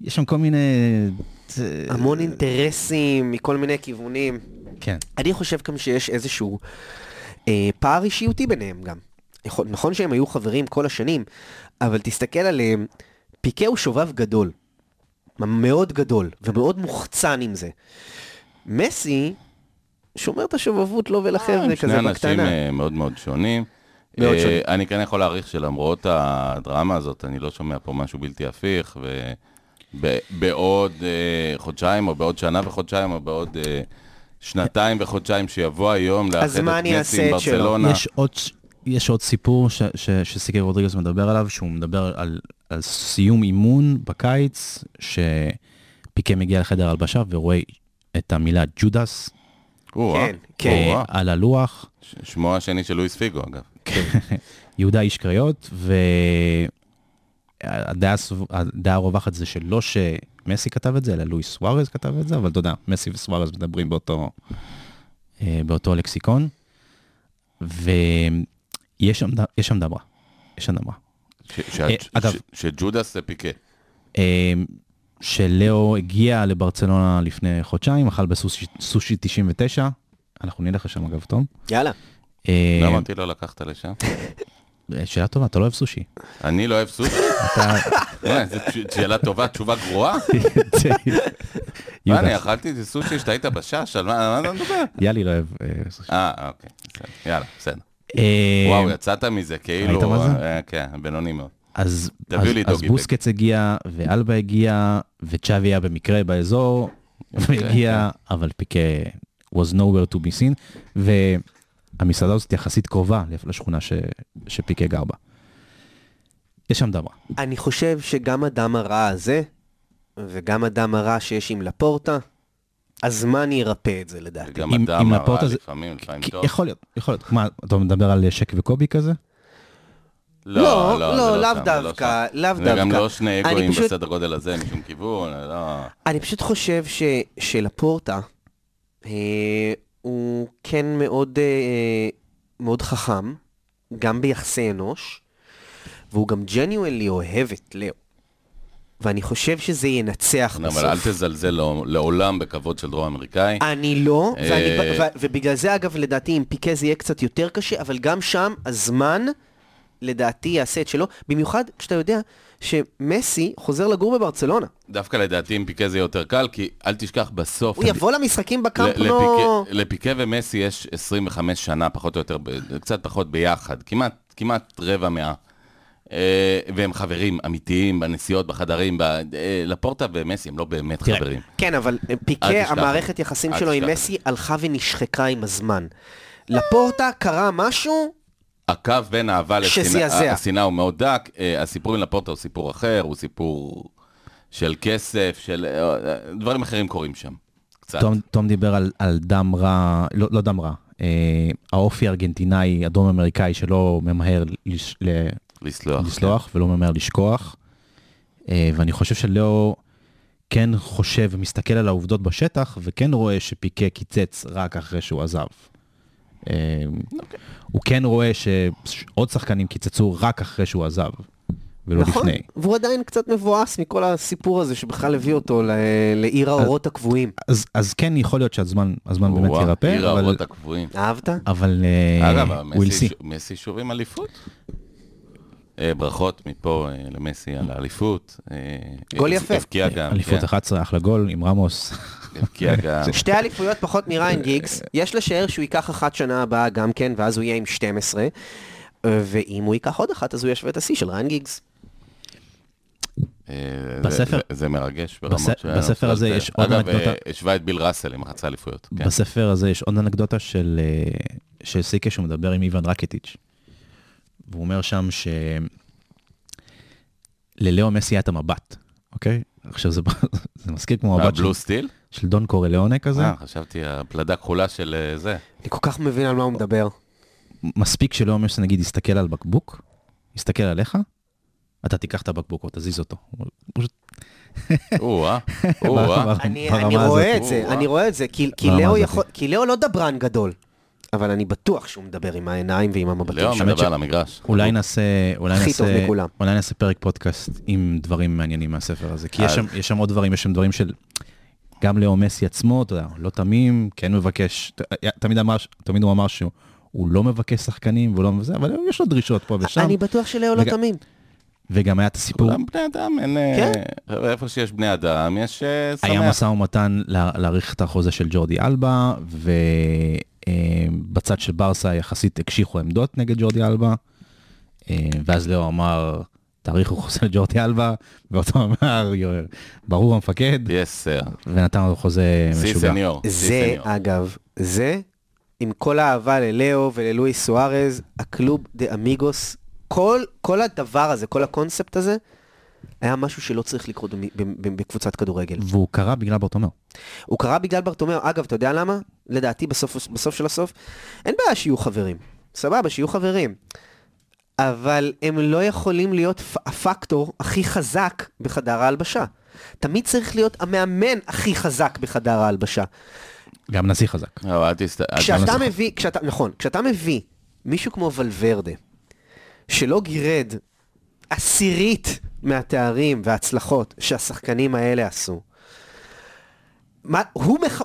יש שם כל מיני... אה, המון אינטרסים מכל מיני כיוונים. כן. אני חושב גם שיש איזשהו אה, פער אישיותי ביניהם גם. יכול, נכון שהם היו חברים כל השנים, אבל תסתכל עליהם, פיקה הוא שובב גדול. מאוד גדול, ומאוד מוחצן עם זה. מסי שומר את השובבות לו ולחבר'ה כן, כזה שני אנשים בקטנה. אה, מאוד מאוד שונים. מאוד אה, שונים. אני כן יכול להעריך שלמרות הדרמה הזאת, אני לא שומע פה משהו בלתי הפיך, ובעוד אה, חודשיים, או בעוד שנה וחודשיים, או בעוד אה, שנתיים וחודשיים, שיבוא היום לאחד מה את אני מסי אעשה עם את שלו? ברצלונה. יש עוד, ש- יש עוד סיפור ש, ש, שסיקי רודריגז מדבר עליו, שהוא מדבר על, על סיום אימון בקיץ, שפיקה מגיע לחדר הלבשה ורואה את המילה ג'ודס או-אה, כן, כן. או-אה. אה, על הלוח. ש- שמו השני של לואיס פיגו, אגב. יהודה איש קריות, והדעה הסב- הדעה הרווחת זה שלא שמסי כתב את זה, אלא לואיס סוארז כתב את זה, אבל אתה יודע, מסי וסוארז מדברים באותו, אה, באותו לקסיקון, ויש שם, ד- יש שם דברה, יש שם דברה. ש- ש- אה, ש- אגב- ש- שג'ודס זה פיקה. אה, שלאו הגיע לברצלונה לפני חודשיים, אכל בסושי סושי 99, אנחנו נלך לשם אגב, תום. יאללה. אה, למה אותי לא לקחת (laughs) לשם? שאלה טובה, אתה לא אוהב סושי. אני לא אוהב סושי. (laughs) (laughs) וואי, זו תש- שאלה טובה, תשובה גרועה. מה, אני אכלתי את סושי שאתה היית בשש, על מה על מה אתה (laughs) מדבר? יאלי לא אוהב אה, סושי. אה, אוקיי, בסדר. יאללה, בסדר. אה, וואו, יצאת מזה, כאילו... ראית מה זה? אה, כן, בינוני מאוד. אז, תביאו אז, לי אז דוגי בוסקץ הגיע, ואלבה הגיע, וצ'אבי היה במקרה באזור, והגיע, אבל פיקה was nowhere to be seen, והמסעדה הזאת יחסית קרובה לשכונה ש, שפיקה גר בה. יש שם דברה. אני חושב שגם הדם הרע הזה, וגם הדם הרע שיש עם לפורטה, הזמן ירפא את זה לדעתי. גם אם- אדם אם הרע לפורטה זה- לפעמים, לפעמים כי- טוב. יכול להיות, יכול להיות. מה, אתה מדבר על שק וקובי כזה? זה לא, לא, לאו שם, זה לא דווקא, שם. לאו זה גם דווקא. לא שני אני אגואים פשוט- בסדר גודל הזה משום כיוון, לא. אני פשוט חושב ש, שלפורטה, אה, הוא כן מאוד, אה, מאוד חכם, גם ביחסי אנוש, והוא גם ג'ניואלי אוהב את לאו. ואני חושב שזה ינצח בסוף. אבל אל תזלזל לא- לעולם בכבוד של דרום אמריקאי. אני לא, ואני, אה, ב- ו- ובגלל זה אגב לדעתי עם פיקה זה יהיה קצת יותר קשה, אבל גם שם הזמן לדעתי יעשה את שלו, במיוחד כשאתה יודע שמסי חוזר לגור בברצלונה. דווקא לדעתי עם פיקה זה יהיה יותר קל, כי אל תשכח בסוף... הוא יבוא למשחקים בקאמפ ל- נו... לפיקה- לפיקה ומסי יש 25 שנה, פחות או יותר, ב- קצת פחות ביחד, כמעט, כמעט רבע מאה. אה, והם חברים אמיתיים בנסיעות, בחדרים, ב- אה, לפורטה ומסי הם לא באמת תראה, חברים. כן, אבל אל פיקה, תשכח. המערכת יחסים אל שלו עם תשכח. מסי הלכה ונשחקה עם הזמן. לפורטה קרה משהו, הקו בין אהבה שזעזע. לשנאה אה, השנאה הוא מאוד דק, אה, הסיפור עם לפורטה הוא סיפור אחר, הוא סיפור של כסף, של... אה, דברים אחרים קורים שם, קצת. תום, תום דיבר על, על דם רע, לא, לא דם רע, אה, האופי הארגנטינאי, הדרום אמריקאי שלא ממהר לש, ל, לסלוח. לסלוח ולא ממהר לשכוח. אה, ואני חושב שלאו כן חושב ומסתכל על העובדות בשטח, וכן רואה שפיקה קיצץ רק אחרי שהוא עזב. אה, אוקיי. הוא כן רואה שעוד שחקנים קיצצו רק אחרי שהוא עזב, ולא נכון? לפני. והוא עדיין קצת מבואס מכל הסיפור הזה שבכלל הביא אותו ל- לעיר האורות הקבועים. אז, אז כן יכול להיות שהזמן הזמן באמת וואו, ירפא, כן. עיר אבל, האבות הקבועים. אהבת? אבל אה, אגב, we'll מסי see. שוב- מסי שוב עם אליפות. אה, ברכות מפה אה, למסי על האליפות. אה, גול אה, יפה. הבקיע גם, אליפות כן, 11, אחלה גול עם רמוס. (laughs) הבקיע גם. שתי אליפויות פחות מריין גיגס, יש לשער שהוא ייקח אחת שנה הבאה גם כן, ואז הוא יהיה עם 12, ואם הוא ייקח עוד אחת, אז הוא ישווה את השיא של ריין גיגס. אה, זה- בספר- זה- זה מרגש ברמות בס- שהיה לנו בספר הזה קצת- יש עוד אגב, אה, אנקדוטה. השווה את ביל ראסל עם החצי אליפויות. כן. בספר הזה יש עוד אנקדוטה של, אה, של סיקה שהוא מדבר עם איוון רקטיץ'. והוא אומר שם שללאו מסי היה את המבט, אוקיי? עכשיו זה, (laughs) זה מזכיר כמו מבט של, הבלו אה, סטיל? של דון קורליאונה כזה. אה, חשבתי הפלדה כחולה של אה, (laughs) זה. אני כל כך מבין על מה הוא מדבר. מספיק שלאו מסי נגיד יסתכל על בקבוק, יסתכל עליך, אתה תיקח את הבקבוק או תזיז אותו. הוא פשוט- או-אה, או-אה. אני ברמה אני הזאת. רואה את זה, וואו. אני רואה את זה, כי- כי ברמה לאו הזאת. יכול- כי לאו לא דברן גדול, אבל אני בטוח שהוא מדבר עם העיניים ועם המבטים לאו שלו. ש- מדבר על המגרש. אולי נעשה, אולי הכי נעשה, טוב מכולם. אולי נעשה פרק פודקאסט עם דברים מעניינים מהספר הזה, כי יש אז- שם, יש שם עוד דברים, יש שם דברים של, גם לאו מסי עצמו, אתה יודע, לא תמים, כן מבקש, ת- היה- תמיד אמר, ש- תמיד הוא אמר שהוא הוא לא מבקש שחקנים, והוא לא מבזה, אבל יש לו דרישות פה ושם, אני בטוח שלאו לא וגם- תמים. וגם היה את הסיפור, כולם בני אדם, אין... אה, כן. חבר'ה, איפה שיש בני אדם, יש אה, היה שמח. משא ומתן לה- להאריך את החוזה של ג'ורדי אלבה, ובצד של ברסה יחסית הקשיחו עמדות נגד ג'ורדי אלבה, אה, ואז לאו אמר, תאריכו חוזה לג'ורדי אלבה, ואותו אמר, "יו- ברור המפקד, יש סר. ונתן לו חוזה סי משוגע. סניור. סי זה, סניור. אגב, זה, עם כל האהבה ללאו וללואיס סוארז, הקלוב דה אמיגוס, כל, כל הדבר הזה, כל הקונספט הזה, היה משהו שלא צריך לקרות במ- במ- במ- בקבוצת כדורגל. והוא קרא בגלל ברטומיאו. הוא קרה בגלל ברטומיאו, אגב, אתה יודע למה? לדעתי, בסוף, בסוף של הסוף, אין בעיה שיהיו חברים. סבבה, שיהיו חברים. אבל הם לא יכולים להיות פ- הפקטור הכי חזק בחדר ההלבשה. תמיד צריך להיות המאמן הכי חזק בחדר ההלבשה. גם נשיא חזק. לא, אל תסת... אל כשאתה תסת- מביא, כשאתה, נכון, כשאתה מביא מישהו כמו ולוורדה, שלא גירד עשירית מהתארים וההצלחות שהשחקנים האלה עשו, מה, הוא מח...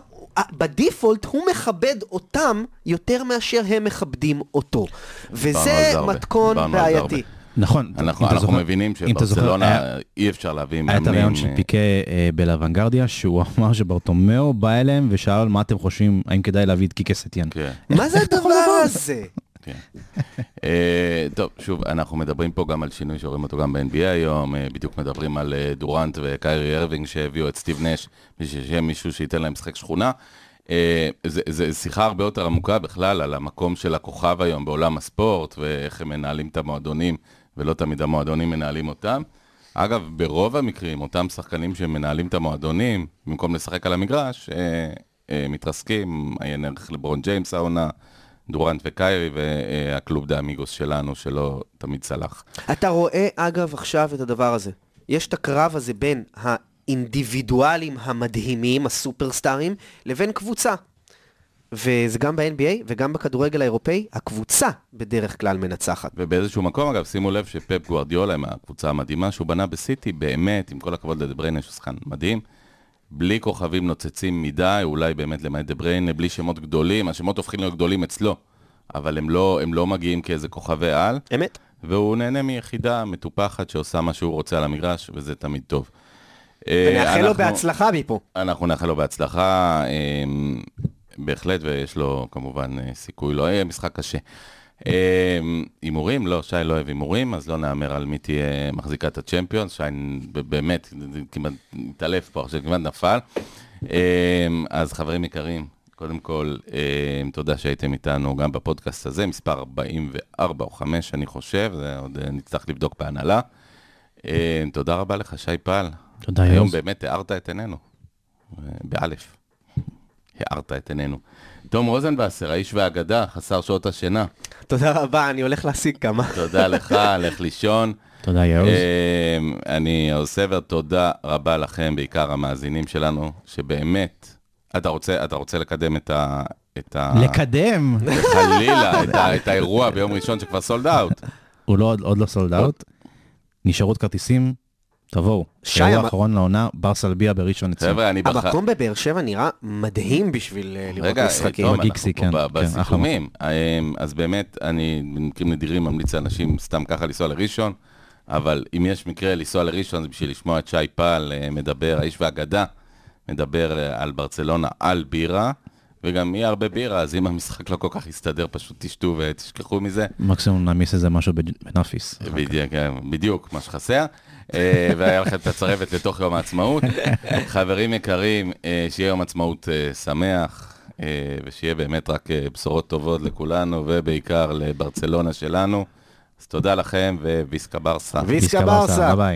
בדיפולט הוא מכבד אותם יותר מאשר הם מכבדים אותו. דיברנו על וזה זה הרבה. מתכון דיברנו על זה הרבה. בעייתי. נכון. אנחנו, אם אתה אנחנו זוכר- מבינים אם אתה זוכר, היה- שברצלונה אי אפשר להביא היה את מאמנים. הרעיון של אה, פיקה אה, בלוונגרדיה, שהוא (laughs) אמר שברטומיאו בא אליהם ושאל מה אתם חושבים, האם כדאי להביא את קיקה סטיאן. כן. מה זה הדבר הזה? כן. אה, טוב, שוב, אנחנו מדברים פה גם על שינוי שרואים אותו גם ב-NBA היום, אה, בדיוק מדברים על אה, דורנט וקיירי הרווינג שהביאו את סטיב נש, בשביל שיהיה מישהו שייתן להם משחק שכונה. זו שיחה הרבה יותר עמוקה בכלל על המקום של הכוכב היום בעולם הספורט, ואיך הם מנהלים את המועדונים, ולא תמיד המועדונים מנהלים אותם. אגב, ברוב המקרים, אותם שחקנים שמנהלים את המועדונים, במקום לשחק על המגרש, אה, אה, מתרסקים, עיין ערך לברון ג'יימס העונה, דורנט וקיירי והקלוב דה אמיגוס שלנו, שלא תמיד צלח. אתה רואה, אגב, עכשיו את הדבר הזה. יש את הקרב הזה בין האינדיבידואלים המדהימים, הסופרסטארים, לבין קבוצה. וזה גם ב-NBA וגם בכדורגל האירופאי, הקבוצה בדרך כלל מנצחת. ובאיזשהו מקום, אגב, שימו לב שפפ גוארדיולה עם הקבוצה המדהימה שהוא בנה בסיטי, באמת, עם כל הכבוד לדה בריינה, שהוא שחקן מדהים, בלי כוכבים נוצצים מדי, אולי באמת למעט דה בריינה, בלי שמות גדולים, השמות הופכים להיות גדולים אצלו, אבל הם לא, הם לא מגיעים כאיזה כוכבי על, אמת? והוא נהנה מיחידה מטופחת שעושה מה שהוא רוצה על המגרש, וזה תמיד טוב. אה, ונאחל לו אנחנו- בהצלחה מפה. אנחנו נאחל לו בהצלחה, אמ, בהחלט, ויש לו כמובן אה, סיכוי, לא יהיה משחק קשה. אמ, הימורים? לא, שי לא אוהב הימורים, אז לא נהמר על מי תהיה מחזיקת הצ'מפיונס, שי ב- באמת כמעט התעלף פה עכשיו, כמעט נפל. אמ, אז חברים יקרים, קודם כל, אמ, תודה שהייתם איתנו גם בפודקאסט הזה, מספר 44 או 5, אני חושב, זה עוד אה, נצטרך לבדוק בהנהלה. אמ, תודה רבה לך, שי פעל. תודה, היום יוז. באמת הארת את עינינו. אה, באלף. הארת את עינינו. תום רוזנבסר, האיש והאגדה, חסר שעות השינה. תודה רבה, אני הולך להשיג (laughs) כמה. תודה לך, לך לישון. תודה, יאוז. אה, אמ, אני עושה תודה רבה לכם, בעיקר המאזינים שלנו, שבאמת, אתה רוצה, אתה רוצה לקדם את ה... את ה... אה. לקדם. (laughs) חלילה, את, ה, את האירוע ביום ראשון שכבר סולד אאוט. הוא לא, עוד לא סולד אאוט. נשארו עוד כרטיסים, תבואו. שי, אירוע המ- אחרון לעונה, בר סלביה בראשון לציון. חבר'ה, אני בח... המקום בבאר שבע נראה מדהים בשביל אה, לראות רגע, משחקים. תום, בגיקסי, אנחנו כן, פה ב- כן, אחלה בסיכומים. אמ, אז באמת, אני במקרים נדירים ממליץ לאנשים סתם ככה לנסוע לראשון, אבל אם יש מקרה לנסוע לראשון, זה בשביל לשמוע את שי פעל אה, מדבר, האיש והאגדה, מדבר אה, על ברצלונה, על בירה, וגם יהיה הרבה בירה, אז אם המשחק לא כל כך יסתדר, פשוט תשתו ותשכחו מזה. מקסימום נעמיס איזה משהו בג- בנאפיס. בדיוק, כן, בדיוק, מה שחסר. אה, והיה לכם את הצרבת לתוך יום העצמאות. חברים יקרים, אה, שיהיה יום עצמאות אה, שמח, אה, ושיהיה באמת רק אה, בשורות טובות לכולנו, ובעיקר לברצלונה שלנו. אז תודה לכם, וויסקה ברסה. ויסקה דיסקה ברסה. ביי ביי.